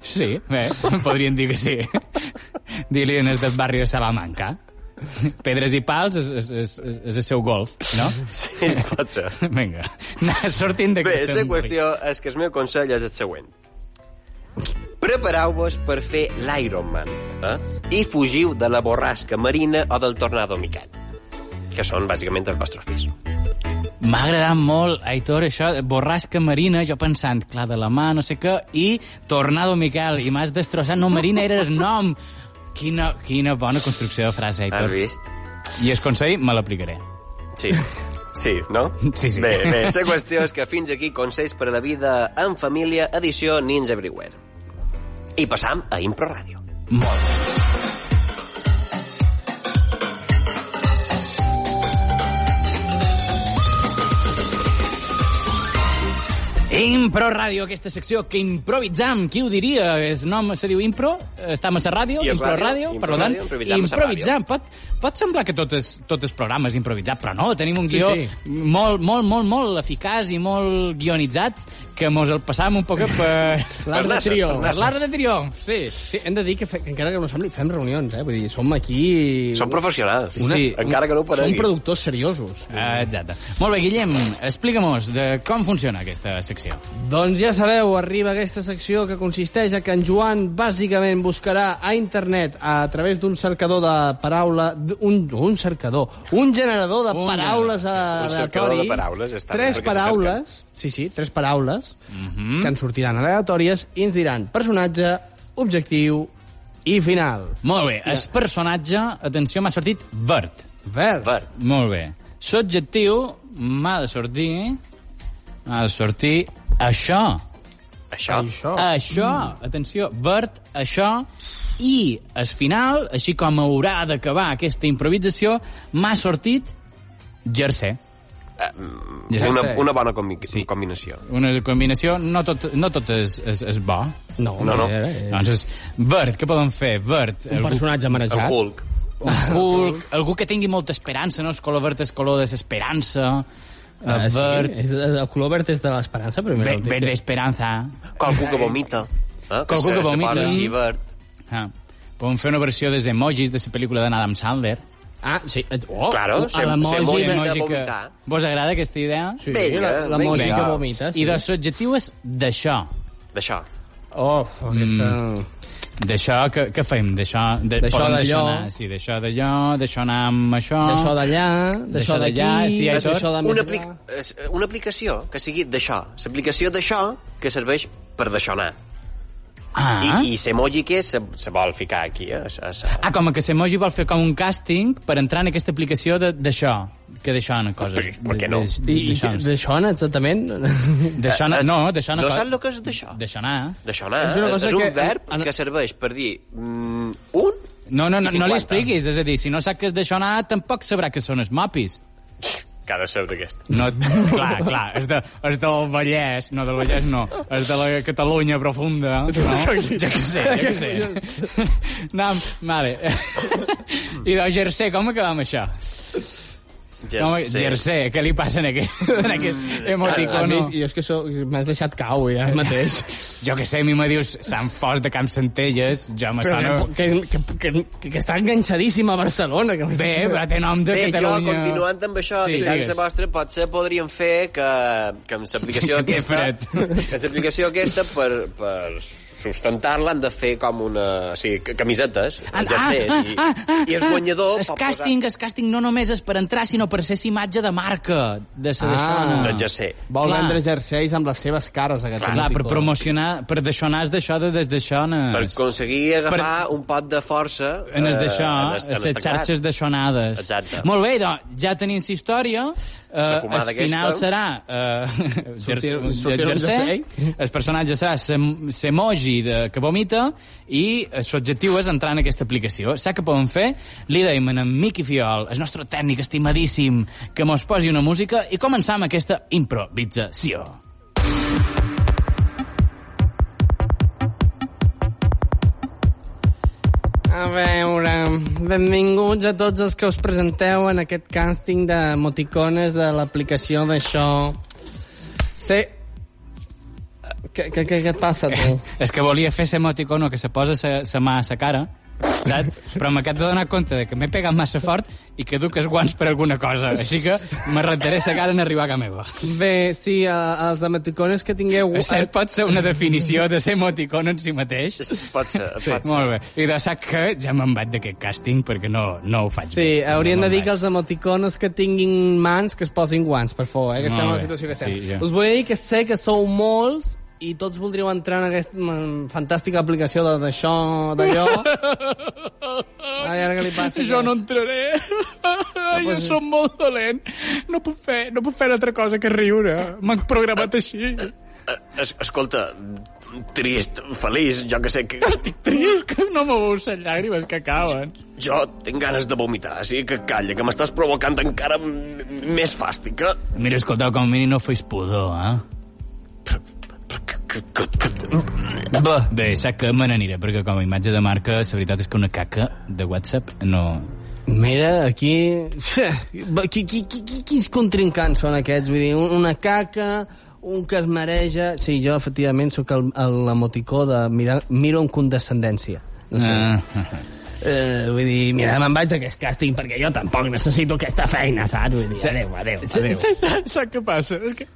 [SPEAKER 2] Sí, bé, podríem dir que sí. Dir-li en el del barri de Salamanca. Pedres i pals és, és, és, és- és el seu golf, no?
[SPEAKER 4] Sí, pot ser.
[SPEAKER 2] Vinga, anar sortint
[SPEAKER 4] Bé,
[SPEAKER 2] d'aquest...
[SPEAKER 4] la qüestió és que el meu consell és el següent. Prepareu-vos per fer l'Ironman eh? i fugiu de la borrasca marina o del tornado Miquel, que són bàsicament els vostres fills.
[SPEAKER 2] M'ha agradat molt, Aitor, això, de borrasca marina, jo pensant, clar, de la mà, no sé què, i Tornado Miquel, i m'has destrossat, no, Marina era el nom. Quina, quina bona construcció de frase,
[SPEAKER 4] Has
[SPEAKER 2] Aitor.
[SPEAKER 4] vist?
[SPEAKER 2] I el consell me l'aplicaré.
[SPEAKER 4] Sí. Sí, no?
[SPEAKER 2] Sí, sí.
[SPEAKER 4] Bé, bé, la qüestió és que fins aquí Consells per a la vida en família, edició Nins Everywhere. I passam a Impro Ràdio.
[SPEAKER 2] Impro Ràdio, aquesta secció que improvisam, qui ho diria? És nom se diu Impro, està a la ràdio,
[SPEAKER 4] I és
[SPEAKER 2] Impro
[SPEAKER 4] ràdio,
[SPEAKER 2] Ràdio,
[SPEAKER 4] Impro
[SPEAKER 2] per tant,
[SPEAKER 4] ràdio, improvisam a sa
[SPEAKER 2] improvisam. Pot, pot semblar que tot és, tot és programa és improvisat, però no, tenim un
[SPEAKER 3] Sí,
[SPEAKER 2] guió
[SPEAKER 3] sí.
[SPEAKER 2] molt, molt, molt, molt eficaç i molt guionitzat que mos el passàvem un poc per...
[SPEAKER 3] L'art de
[SPEAKER 4] nassos,
[SPEAKER 3] trio.
[SPEAKER 4] per
[SPEAKER 2] Per l'art de triomf, sí.
[SPEAKER 3] Sí, hem de dir que, fe, que encara que no sembli, fem reunions, eh? Vull dir, som aquí...
[SPEAKER 4] Són professionals,
[SPEAKER 2] Una-
[SPEAKER 4] sí. encara que no ho
[SPEAKER 3] Som
[SPEAKER 4] paregui.
[SPEAKER 3] productors seriosos. eh?
[SPEAKER 2] Ah, Exacte. Molt bé, Guillem, explica-mos de com funciona aquesta secció.
[SPEAKER 3] Doncs ja sabeu, arriba aquesta secció que consisteix a que en Joan bàsicament buscarà a internet a través d'un cercador de paraula... d- Un, un cercador, un generador de
[SPEAKER 2] Un
[SPEAKER 3] paraules
[SPEAKER 4] sí. Un
[SPEAKER 3] aleatori.
[SPEAKER 4] cercador de paraules, està bé,
[SPEAKER 3] Tres
[SPEAKER 4] perquè se Mhm.
[SPEAKER 3] paraules, sí, sí, tres paraules que ens sortiran aleatòries i ens diran personatge, objectiu i final.
[SPEAKER 2] Molt bé, el personatge, atenció, m'ha sortit verd.
[SPEAKER 3] Verd.
[SPEAKER 4] Ver,
[SPEAKER 2] Molt bé. Subjectiu m'ha de sortir... M'ha de sortir això.
[SPEAKER 4] això.
[SPEAKER 3] Això. Mm.
[SPEAKER 2] Això, atenció, verd, això. I al final, així com haurà d'acabar aquesta improvisació, m'ha sortit jersey.
[SPEAKER 4] És
[SPEAKER 2] Ja
[SPEAKER 4] eh, una,
[SPEAKER 3] sé.
[SPEAKER 4] una bona combi
[SPEAKER 2] Sí.
[SPEAKER 4] combinació.
[SPEAKER 2] Una combinació, no tot, no tot és, és, és bo.
[SPEAKER 3] No,
[SPEAKER 4] No, no.
[SPEAKER 3] eh, eh,
[SPEAKER 2] Doncs és verd, què podem fer? Verd,
[SPEAKER 3] Un personatge
[SPEAKER 4] El
[SPEAKER 3] marejat.
[SPEAKER 4] Hulk.
[SPEAKER 2] algú, algú que tingui molta esperança, no? El color verd és color desesperança.
[SPEAKER 3] Ah,
[SPEAKER 2] Uh,
[SPEAKER 3] sí,
[SPEAKER 2] verd,
[SPEAKER 3] és, el color verd és de l'esperança, primer.
[SPEAKER 2] Ve- Verde Esperanza.
[SPEAKER 4] Qualcú que vomita. Eh?
[SPEAKER 2] Qualcú que
[SPEAKER 4] se- se
[SPEAKER 2] vomita.
[SPEAKER 4] posa així verd.
[SPEAKER 2] Ah. Podem fer una versió des emojis de la pel·lícula de Adam Sandler. Ah,
[SPEAKER 3] Ah, sí. Oh,
[SPEAKER 4] Claro, se, se
[SPEAKER 2] L'emoji-
[SPEAKER 4] vomita de
[SPEAKER 2] l'emoji que-
[SPEAKER 4] vomitar.
[SPEAKER 2] Vos agrada aquesta idea?
[SPEAKER 3] Sí,
[SPEAKER 4] Vinga,
[SPEAKER 3] la, la
[SPEAKER 4] vinga.
[SPEAKER 3] música vomita. Sí.
[SPEAKER 2] I doncs l'objectiu és d'això.
[SPEAKER 4] D'això.
[SPEAKER 3] Oh, aquesta... Mm.
[SPEAKER 2] D'això, que, què fem? D'això, de,
[SPEAKER 3] D'això,
[SPEAKER 2] podem
[SPEAKER 3] d'allò.
[SPEAKER 2] deixar anar, Sí, d'això, d'allò, d'això anar amb això...
[SPEAKER 3] D'això d'allà,
[SPEAKER 2] Ah. D'això
[SPEAKER 3] d'això d'aquí,
[SPEAKER 2] d'allà, sí,
[SPEAKER 3] d'això
[SPEAKER 2] Aitor.
[SPEAKER 3] d'això de més
[SPEAKER 4] Una,
[SPEAKER 3] allà.
[SPEAKER 4] apli és una aplicació que sigui d'això. L'aplicació d'això que serveix per d'això anar.
[SPEAKER 2] Ah,
[SPEAKER 4] I, i l'emoji que és, se, se vol ficar aquí. Eh? Se, se...
[SPEAKER 2] ah, com que l'emoji vol fer com un càsting per entrar en aquesta aplicació de- d'això, que d'això no coses.
[SPEAKER 4] Per- per què no?
[SPEAKER 2] D'aix-
[SPEAKER 3] I
[SPEAKER 2] D'això
[SPEAKER 3] i d'això anar exactament...
[SPEAKER 2] d'això anar- Ah, no, d'això
[SPEAKER 4] Eh, No
[SPEAKER 2] co-
[SPEAKER 4] saps el que és d'això?
[SPEAKER 2] D'això anar.
[SPEAKER 4] D'això anar.
[SPEAKER 3] És
[SPEAKER 4] És,
[SPEAKER 3] una
[SPEAKER 4] és,
[SPEAKER 3] cosa
[SPEAKER 4] un
[SPEAKER 3] que-
[SPEAKER 4] verb
[SPEAKER 3] en-
[SPEAKER 4] que serveix per dir mm, un
[SPEAKER 2] No, no, no,
[SPEAKER 4] I
[SPEAKER 2] no li
[SPEAKER 4] 50.
[SPEAKER 2] expliquis. És a dir, si no sap que és d'això anar, tampoc sabrà que són els mapis.
[SPEAKER 4] que ha de ser aquesta.
[SPEAKER 2] No, clar, clar, és, de, és del Vallès, no, del Vallès no, és de la Catalunya profunda, no? Jo què sé, jo què sé. No, vale. I del Jersey, com acabem això? No, Jersey, què li passa en aquest, en aquest
[SPEAKER 3] A
[SPEAKER 2] emoticono?
[SPEAKER 3] més, jo és que so, m'has deixat cau, ja, mateix.
[SPEAKER 2] Jo que sé, a mi me dius Sant Fost de Camp Centelles, jo me sona...
[SPEAKER 3] Però que, que, que, que, que, està enganxadíssima a Barcelona. Que m'has
[SPEAKER 2] Bé,
[SPEAKER 3] deixat-
[SPEAKER 2] Eh, però té nom de
[SPEAKER 4] Bé, jo,
[SPEAKER 2] Catalunya...
[SPEAKER 4] continuant amb això,
[SPEAKER 2] Sí,
[SPEAKER 4] sí, deixant-se
[SPEAKER 2] digues.
[SPEAKER 4] vostra, potser podríem fer que, que amb l'aplicació
[SPEAKER 2] Que té
[SPEAKER 4] aquesta...
[SPEAKER 2] fred.
[SPEAKER 4] Que amb l'aplicació aquesta, per, per sustentar-la, han de fer com una... O sigui, ca- camisetes, ah, jerseis, ah, ah, ah, i, i el guanyador...
[SPEAKER 2] El
[SPEAKER 4] pot
[SPEAKER 2] càsting, el càsting no només és per entrar, sinó per ser sa imatge de marca de sa ah.
[SPEAKER 3] Ah.
[SPEAKER 4] Posar... De jersei.
[SPEAKER 3] Vol
[SPEAKER 2] Clar.
[SPEAKER 3] vendre jerseis amb les seves cares, aquest
[SPEAKER 2] Clar, per
[SPEAKER 3] emoticó.
[SPEAKER 2] promocionar, per deixonar es d'això de des d'aixones.
[SPEAKER 4] Per aconseguir agafar per... un pot de força...
[SPEAKER 2] en es
[SPEAKER 4] eh,
[SPEAKER 2] d'això,
[SPEAKER 4] en
[SPEAKER 2] les
[SPEAKER 4] es- en es teclat.
[SPEAKER 2] xarxes d'aixonades.
[SPEAKER 4] Exacte.
[SPEAKER 2] Molt bé, doncs, ja tenim la història. Eh,
[SPEAKER 4] La fumada
[SPEAKER 2] el final
[SPEAKER 4] aquesta.
[SPEAKER 2] serà... Eh,
[SPEAKER 3] Sortir-
[SPEAKER 2] jer-
[SPEAKER 3] sortir un jersei.
[SPEAKER 2] El personatge serà sem- Semoji, de, que vomita, i el seu objectiu és entrar en aquesta aplicació. Saps què podem fer? Li deim en Miqui Fiol, el nostre tècnic estimadíssim, que mos posi una música i començar amb aquesta improvisació.
[SPEAKER 3] A veure, benvinguts a tots els que us presenteu en aquest càsting de moticones de l'aplicació d'això. Sí. Què, què, què, què et passa, tu?
[SPEAKER 2] És que volia fer ese emoticono que se posa sa, sa mà a sa cara, saps? Però m'he de donar compte de que m'he pegat massa fort i que duc els guants per alguna cosa. Així que m'arrentaré sa cara en arribar a casa meva.
[SPEAKER 3] Bé, sí, a, els emoticones que tingueu...
[SPEAKER 2] Això pot ser una definició de ser emoticono en si mateix.
[SPEAKER 4] Pot ser, pot ser.
[SPEAKER 2] Molt bé. I de sac que ja me'n vaig d'aquest càsting perquè no, no ho faig
[SPEAKER 3] Sí,
[SPEAKER 2] bé.
[SPEAKER 3] haurien
[SPEAKER 2] no
[SPEAKER 3] de
[SPEAKER 2] me'n
[SPEAKER 3] dir que
[SPEAKER 2] vaig.
[SPEAKER 3] els emoticones que tinguin mans que es posin guants, per favor, eh, que estem
[SPEAKER 2] Molt
[SPEAKER 3] en la
[SPEAKER 2] bé,
[SPEAKER 3] situació que
[SPEAKER 2] sí,
[SPEAKER 3] estem.
[SPEAKER 2] ja.
[SPEAKER 3] Us vull dir que sé que sou molts i tots voldríeu entrar en aquesta mm, fantàstica aplicació de- d'això, d'allò. Ai, ara què li passa?
[SPEAKER 2] Jo no entraré. Jo
[SPEAKER 3] pues-
[SPEAKER 2] som molt dolent. No puc fer, no puc fer altra cosa que riure. M'han programat així.
[SPEAKER 4] Eh, es- Escolta, trist, feliç, jo que sé que...
[SPEAKER 2] Estic trist, que no m'obus les llàgrimes que acaben.
[SPEAKER 4] Jo tinc ganes de vomitar, així que calla, que m'estàs provocant encara m- m- més fàstica.
[SPEAKER 2] Mira, escolteu, com a mínim no feis pudor, eh? Bé, saps que me n'aniré, perquè com a imatge de marca, la veritat és que una caca de WhatsApp no...
[SPEAKER 3] Mira, aquí... Qui, qui, qui, qui, quins contrincants són aquests? Vull dir, un- una caca, un que es mareja... Sí, jo, efectivament, sóc el- el- l'emoticó de mirar, miro amb condescendència. No sé.
[SPEAKER 2] Ah,
[SPEAKER 3] Eh, vull dir, mira, me'n vaig d'aquest càsting perquè jo tampoc necessito aquesta feina, saps? Vull dir, adéu, adéu, adéu.
[SPEAKER 2] Saps què passa? És que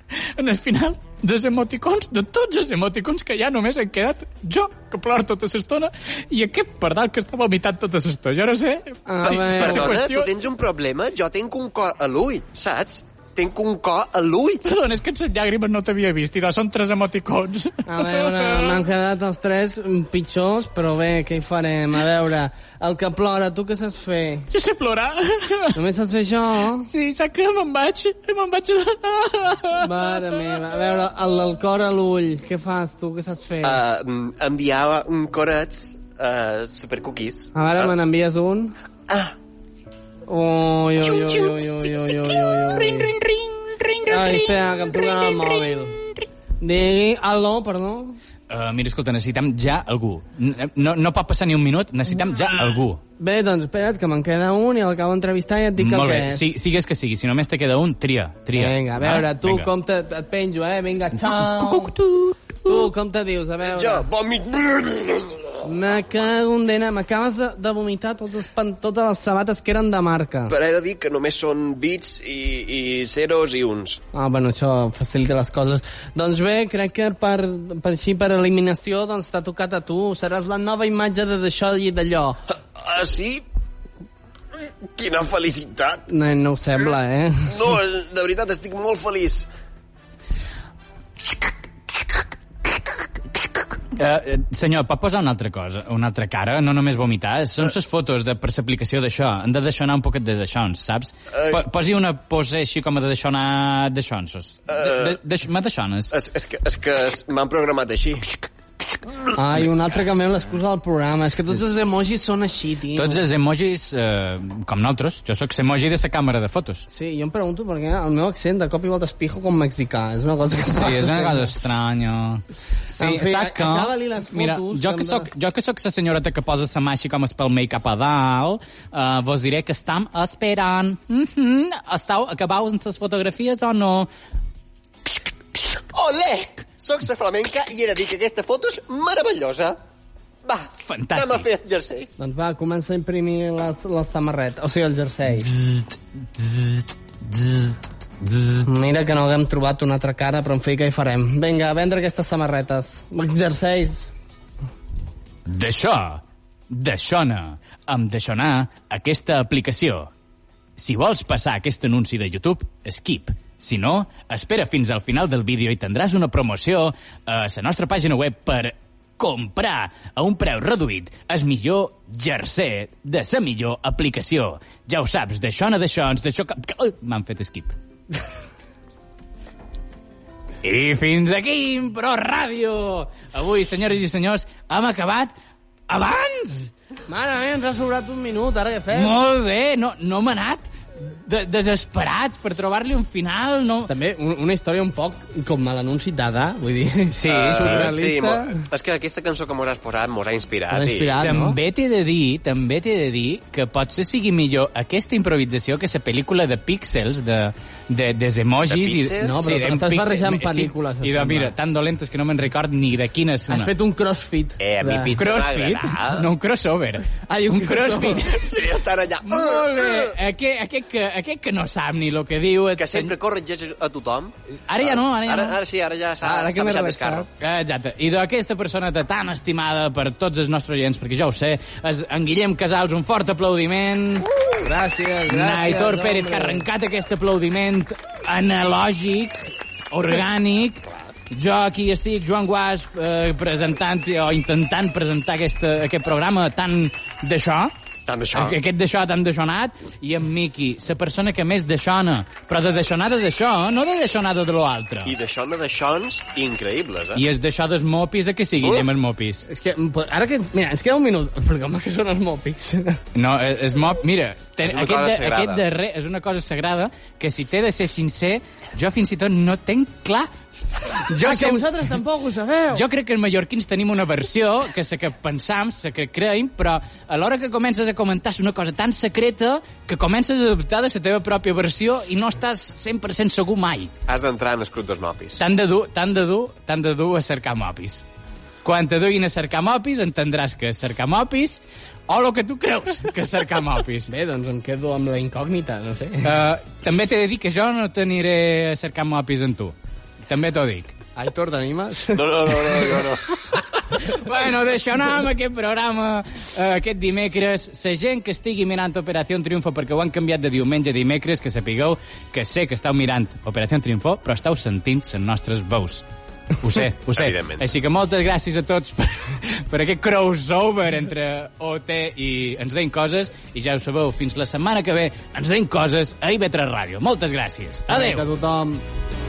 [SPEAKER 2] en el final dels emoticons, de tots els emoticons que hi ha, només han quedat jo, que plor tota l'estona, i aquest pardal que està vomitant tota l'estona. Jo no sé...
[SPEAKER 3] Ah, bé.
[SPEAKER 2] la
[SPEAKER 4] Perdona,
[SPEAKER 2] qüestió-
[SPEAKER 4] tu tens un problema? Jo tinc un cor a l'ull, saps? Tinc un cor a l'ull.
[SPEAKER 2] Perdona, és que sense llàgrimes no t'havia vist, i doncs són tres emoticons.
[SPEAKER 3] A veure, m'han quedat els tres mm, pitjors, però bé, què hi farem? A veure, el que plora, tu què saps fer?
[SPEAKER 2] Jo sé plorar.
[SPEAKER 3] Només saps fer això?
[SPEAKER 2] Sí, saps que me'n vaig? Me'n vaig...
[SPEAKER 3] Mare meva, a veure, el, el cor a l'ull, què fas tu, què saps fer?
[SPEAKER 4] Uh, enviava un corets uh, supercookies.
[SPEAKER 3] A veure, me n'envies un?
[SPEAKER 4] Ah.
[SPEAKER 3] Ui, ui, ui, ui, ui, ui, ui, ui, ui. Ai, espera, que em truquen al mòbil. Digui, aló, perdó.
[SPEAKER 2] Uh, mira, escolta, necessitem ja algú. N- No, no pot passar ni un minut, necessitem ja
[SPEAKER 3] Ah.
[SPEAKER 2] algú.
[SPEAKER 3] Bé, doncs espera't, que me'n queda un i el acabo d'entrevistar i et dic el
[SPEAKER 2] Molt
[SPEAKER 3] que
[SPEAKER 2] bé,
[SPEAKER 3] és.
[SPEAKER 2] si, sigues que sigui, si només te queda un, tria, tria.
[SPEAKER 3] Vinga, a veure,
[SPEAKER 2] Ah,
[SPEAKER 3] tu
[SPEAKER 2] vinga.
[SPEAKER 3] com te, et penjo, eh? Vinga, xau. Tu com te dius, a veure?
[SPEAKER 4] Jo, vòmit...
[SPEAKER 3] Me cago en dena, m'acabes de, de vomitar tots els pan, totes les sabates que eren de marca.
[SPEAKER 4] Però he de dir que només són bits i, i zeros i uns.
[SPEAKER 3] Ah, bueno, això facilita les coses. Doncs bé, crec que per, per així, per eliminació, doncs t'ha tocat a tu. Seràs la nova imatge de d'això i d'allò.
[SPEAKER 4] Ah, sí? Quina felicitat!
[SPEAKER 3] No, no ho sembla, eh?
[SPEAKER 4] No, de veritat, estic molt feliç.
[SPEAKER 2] Eh, eh, senyor, pot posar una altra cosa, una altra cara, no només vomitar. Són ses fotos de per l'aplicació d'això. Hem de deixar anar un poquet de deixons, saps?
[SPEAKER 4] Eh.
[SPEAKER 2] Po Posi una pose així com a de deixar
[SPEAKER 3] Eh.
[SPEAKER 2] anar deixonsos. De, de, de, me deixones.
[SPEAKER 4] És, és que, és que m'han programat així.
[SPEAKER 3] Ai, un altre canviem l'excusa del programa. És que tots els emojis són així, tio.
[SPEAKER 8] Tots els emojis, eh, com nosaltres. Jo sóc emoji de sa càmera de fotos.
[SPEAKER 3] Sí, jo em pregunto per què el meu accent de cop i volta espijo com mexicà. És una cosa que
[SPEAKER 8] Sí, és una cosa estranya. Sí,
[SPEAKER 3] En fi,
[SPEAKER 8] sac que...
[SPEAKER 3] acaba-li les fotos,
[SPEAKER 8] Mira, jo que,
[SPEAKER 3] sembla.
[SPEAKER 8] soc, jo que soc la senyoreta que posa sa mà així com es pel mei cap a dalt, eh, vos diré que estam esperant. Mm -hmm. Estau acabau amb les fotografies o no?
[SPEAKER 4] Olé! Soc la flamenca i he de dir que aquesta foto és meravellosa. Va,
[SPEAKER 8] Fantàstic.
[SPEAKER 4] anem a fer exercicis.
[SPEAKER 3] Doncs va, comença a imprimir les, les samarretes, o sigui, el jersei. Mira que no haguem trobat una altra cara, però en fi, què hi farem? Vinga, a vendre aquestes samarretes. Jerseis.
[SPEAKER 8] D'això, d'aixona, amb d'aixonar aquesta aplicació. Si vols passar aquest anunci de YouTube, skip. Si no, espera fins al final del vídeo i tindràs una promoció eh, a la nostra pàgina web per comprar a un preu reduït el millor jersey de la millor aplicació. Ja ho saps, d'aixona, d'aixons, d'això... que- que- Ai, M'han fet skip. I fins aquí, Impro Ràdio! Avui, senyores i senyors, hem acabat abans!
[SPEAKER 3] Mare meva, ens ha sobrat un minut, ara què fem?
[SPEAKER 8] Molt bé, no, no hem anat de desesperats per trobar-li un final, no...
[SPEAKER 3] També un, una història un poc com a l'anunci d'Ada, vull dir.
[SPEAKER 8] Sí,
[SPEAKER 4] Eh,
[SPEAKER 8] sí.
[SPEAKER 3] surrealista.
[SPEAKER 4] mo- és que aquesta cançó que mos has posat mos ha inspirat.
[SPEAKER 3] Mos ha inspirat. no?
[SPEAKER 8] També t'he de dir, també t'he de dir que potser sigui millor aquesta improvisació que la pel·lícula de Pixels, de, de, dels emojis...
[SPEAKER 4] De
[SPEAKER 8] i-
[SPEAKER 4] Pixels?
[SPEAKER 3] No, però
[SPEAKER 8] de
[SPEAKER 3] t'estàs
[SPEAKER 8] Pixels.
[SPEAKER 3] barrejant
[SPEAKER 8] Estic-
[SPEAKER 3] pel·lícules,
[SPEAKER 8] I de,
[SPEAKER 3] sembla.
[SPEAKER 8] mira, tan dolentes que no me'n record ni de quina és una.
[SPEAKER 4] Ah,
[SPEAKER 3] Has fet un crossfit.
[SPEAKER 4] I... Eh, a mi
[SPEAKER 3] De-
[SPEAKER 4] pizza
[SPEAKER 8] Crossfit?
[SPEAKER 4] m'agrada.
[SPEAKER 8] No, un crossover.
[SPEAKER 3] Ai, un crossover.
[SPEAKER 4] Sí, estan allà. Ah,
[SPEAKER 8] Molt bé. Aquest, aquest, que, aquest que no sap ni el que diu... et
[SPEAKER 4] Que sempre corregeix a tothom.
[SPEAKER 8] Ara ja no, ara ja
[SPEAKER 4] ara,
[SPEAKER 8] no.
[SPEAKER 4] Ara sí, ara ja s'ha
[SPEAKER 3] Ara que
[SPEAKER 4] Ah, s'ha
[SPEAKER 3] m'he
[SPEAKER 4] baixat del carro.
[SPEAKER 3] relaxat.
[SPEAKER 8] Eh, Exacte. I d'aquesta personeta tan estimada per tots els nostres oients, perquè jo ho sé, és en Guillem Casals, un fort aplaudiment. Uh,
[SPEAKER 3] Gràcies, gràcies.
[SPEAKER 8] Naitor Pérez, que
[SPEAKER 3] home.
[SPEAKER 8] ha arrencat aquest aplaudiment analògic, orgànic. Jo aquí estic, Joan Guasp, eh, presentant o intentant presentar aquesta, aquest programa tan d'això.
[SPEAKER 4] Tant d'això.
[SPEAKER 8] Aqu- Aquest d'això tan deixonat. I en Miqui, la persona que més deixona. Però de deixonada d'això, no de deixonada de lo altre.
[SPEAKER 4] I d'això no d'aixons increïbles, eh?
[SPEAKER 8] I és d'això dels mopis a que sigui,
[SPEAKER 4] Uf.
[SPEAKER 8] Guillem, els mopis.
[SPEAKER 3] És que, mm, ara que... ens- Mira, ens queda un minut, perquè home, que són els mòpics.
[SPEAKER 8] No, és, és mop... Mira, ten,
[SPEAKER 4] És una
[SPEAKER 8] aquest,
[SPEAKER 4] cosa
[SPEAKER 8] de,
[SPEAKER 4] sagrada.
[SPEAKER 8] aquest darrer és una cosa sagrada que, si t'he de ser sincer, jo fins i tot no tenc clar... Jo,
[SPEAKER 3] Ah, que
[SPEAKER 8] sem-
[SPEAKER 3] vosaltres tampoc ho sabeu.
[SPEAKER 8] jo crec que els mallorquins tenim una versió que sé que pensam, sé que creiem, però a l'hora que comences a comentar és una cosa tan secreta que comences a dubtar de la teva pròpia versió i no estàs 100% segur mai.
[SPEAKER 4] Has d'entrar en el club dels mopis.
[SPEAKER 8] T'han de dur, t'han de dur, t'han de dur a cercar mopis. Quan te duguin a cercar mopis, entendràs que és cercar mopis o el que tu creus que és cercar mopis.
[SPEAKER 3] Bé, doncs em quedo amb la incògnita, no sé.
[SPEAKER 8] Uh, també t'he de dir que jo no t'aniré a cercar mopis amb tu. També t'ho dic.
[SPEAKER 3] Aitor, t'animes?
[SPEAKER 4] No, no, no, no, no. no.
[SPEAKER 8] Bueno, d'això anem aquest programa eh, aquest dimecres. La gent que estigui mirant Operació Triunfo perquè ho han canviat de diumenge a dimecres, que sapigueu que sé que esteu mirant Operació Triunfo, però esteu sentint les nostres veus. Ho sé, ho sé.
[SPEAKER 4] Evidentment.
[SPEAKER 8] Així que moltes gràcies a tots per, per aquest crossover entre OT i Ens deim coses. I ja ho sabeu, fins la setmana que ve Ens deim coses a IB3 Ràdio. Moltes gràcies. Adéu.
[SPEAKER 3] Que tothom...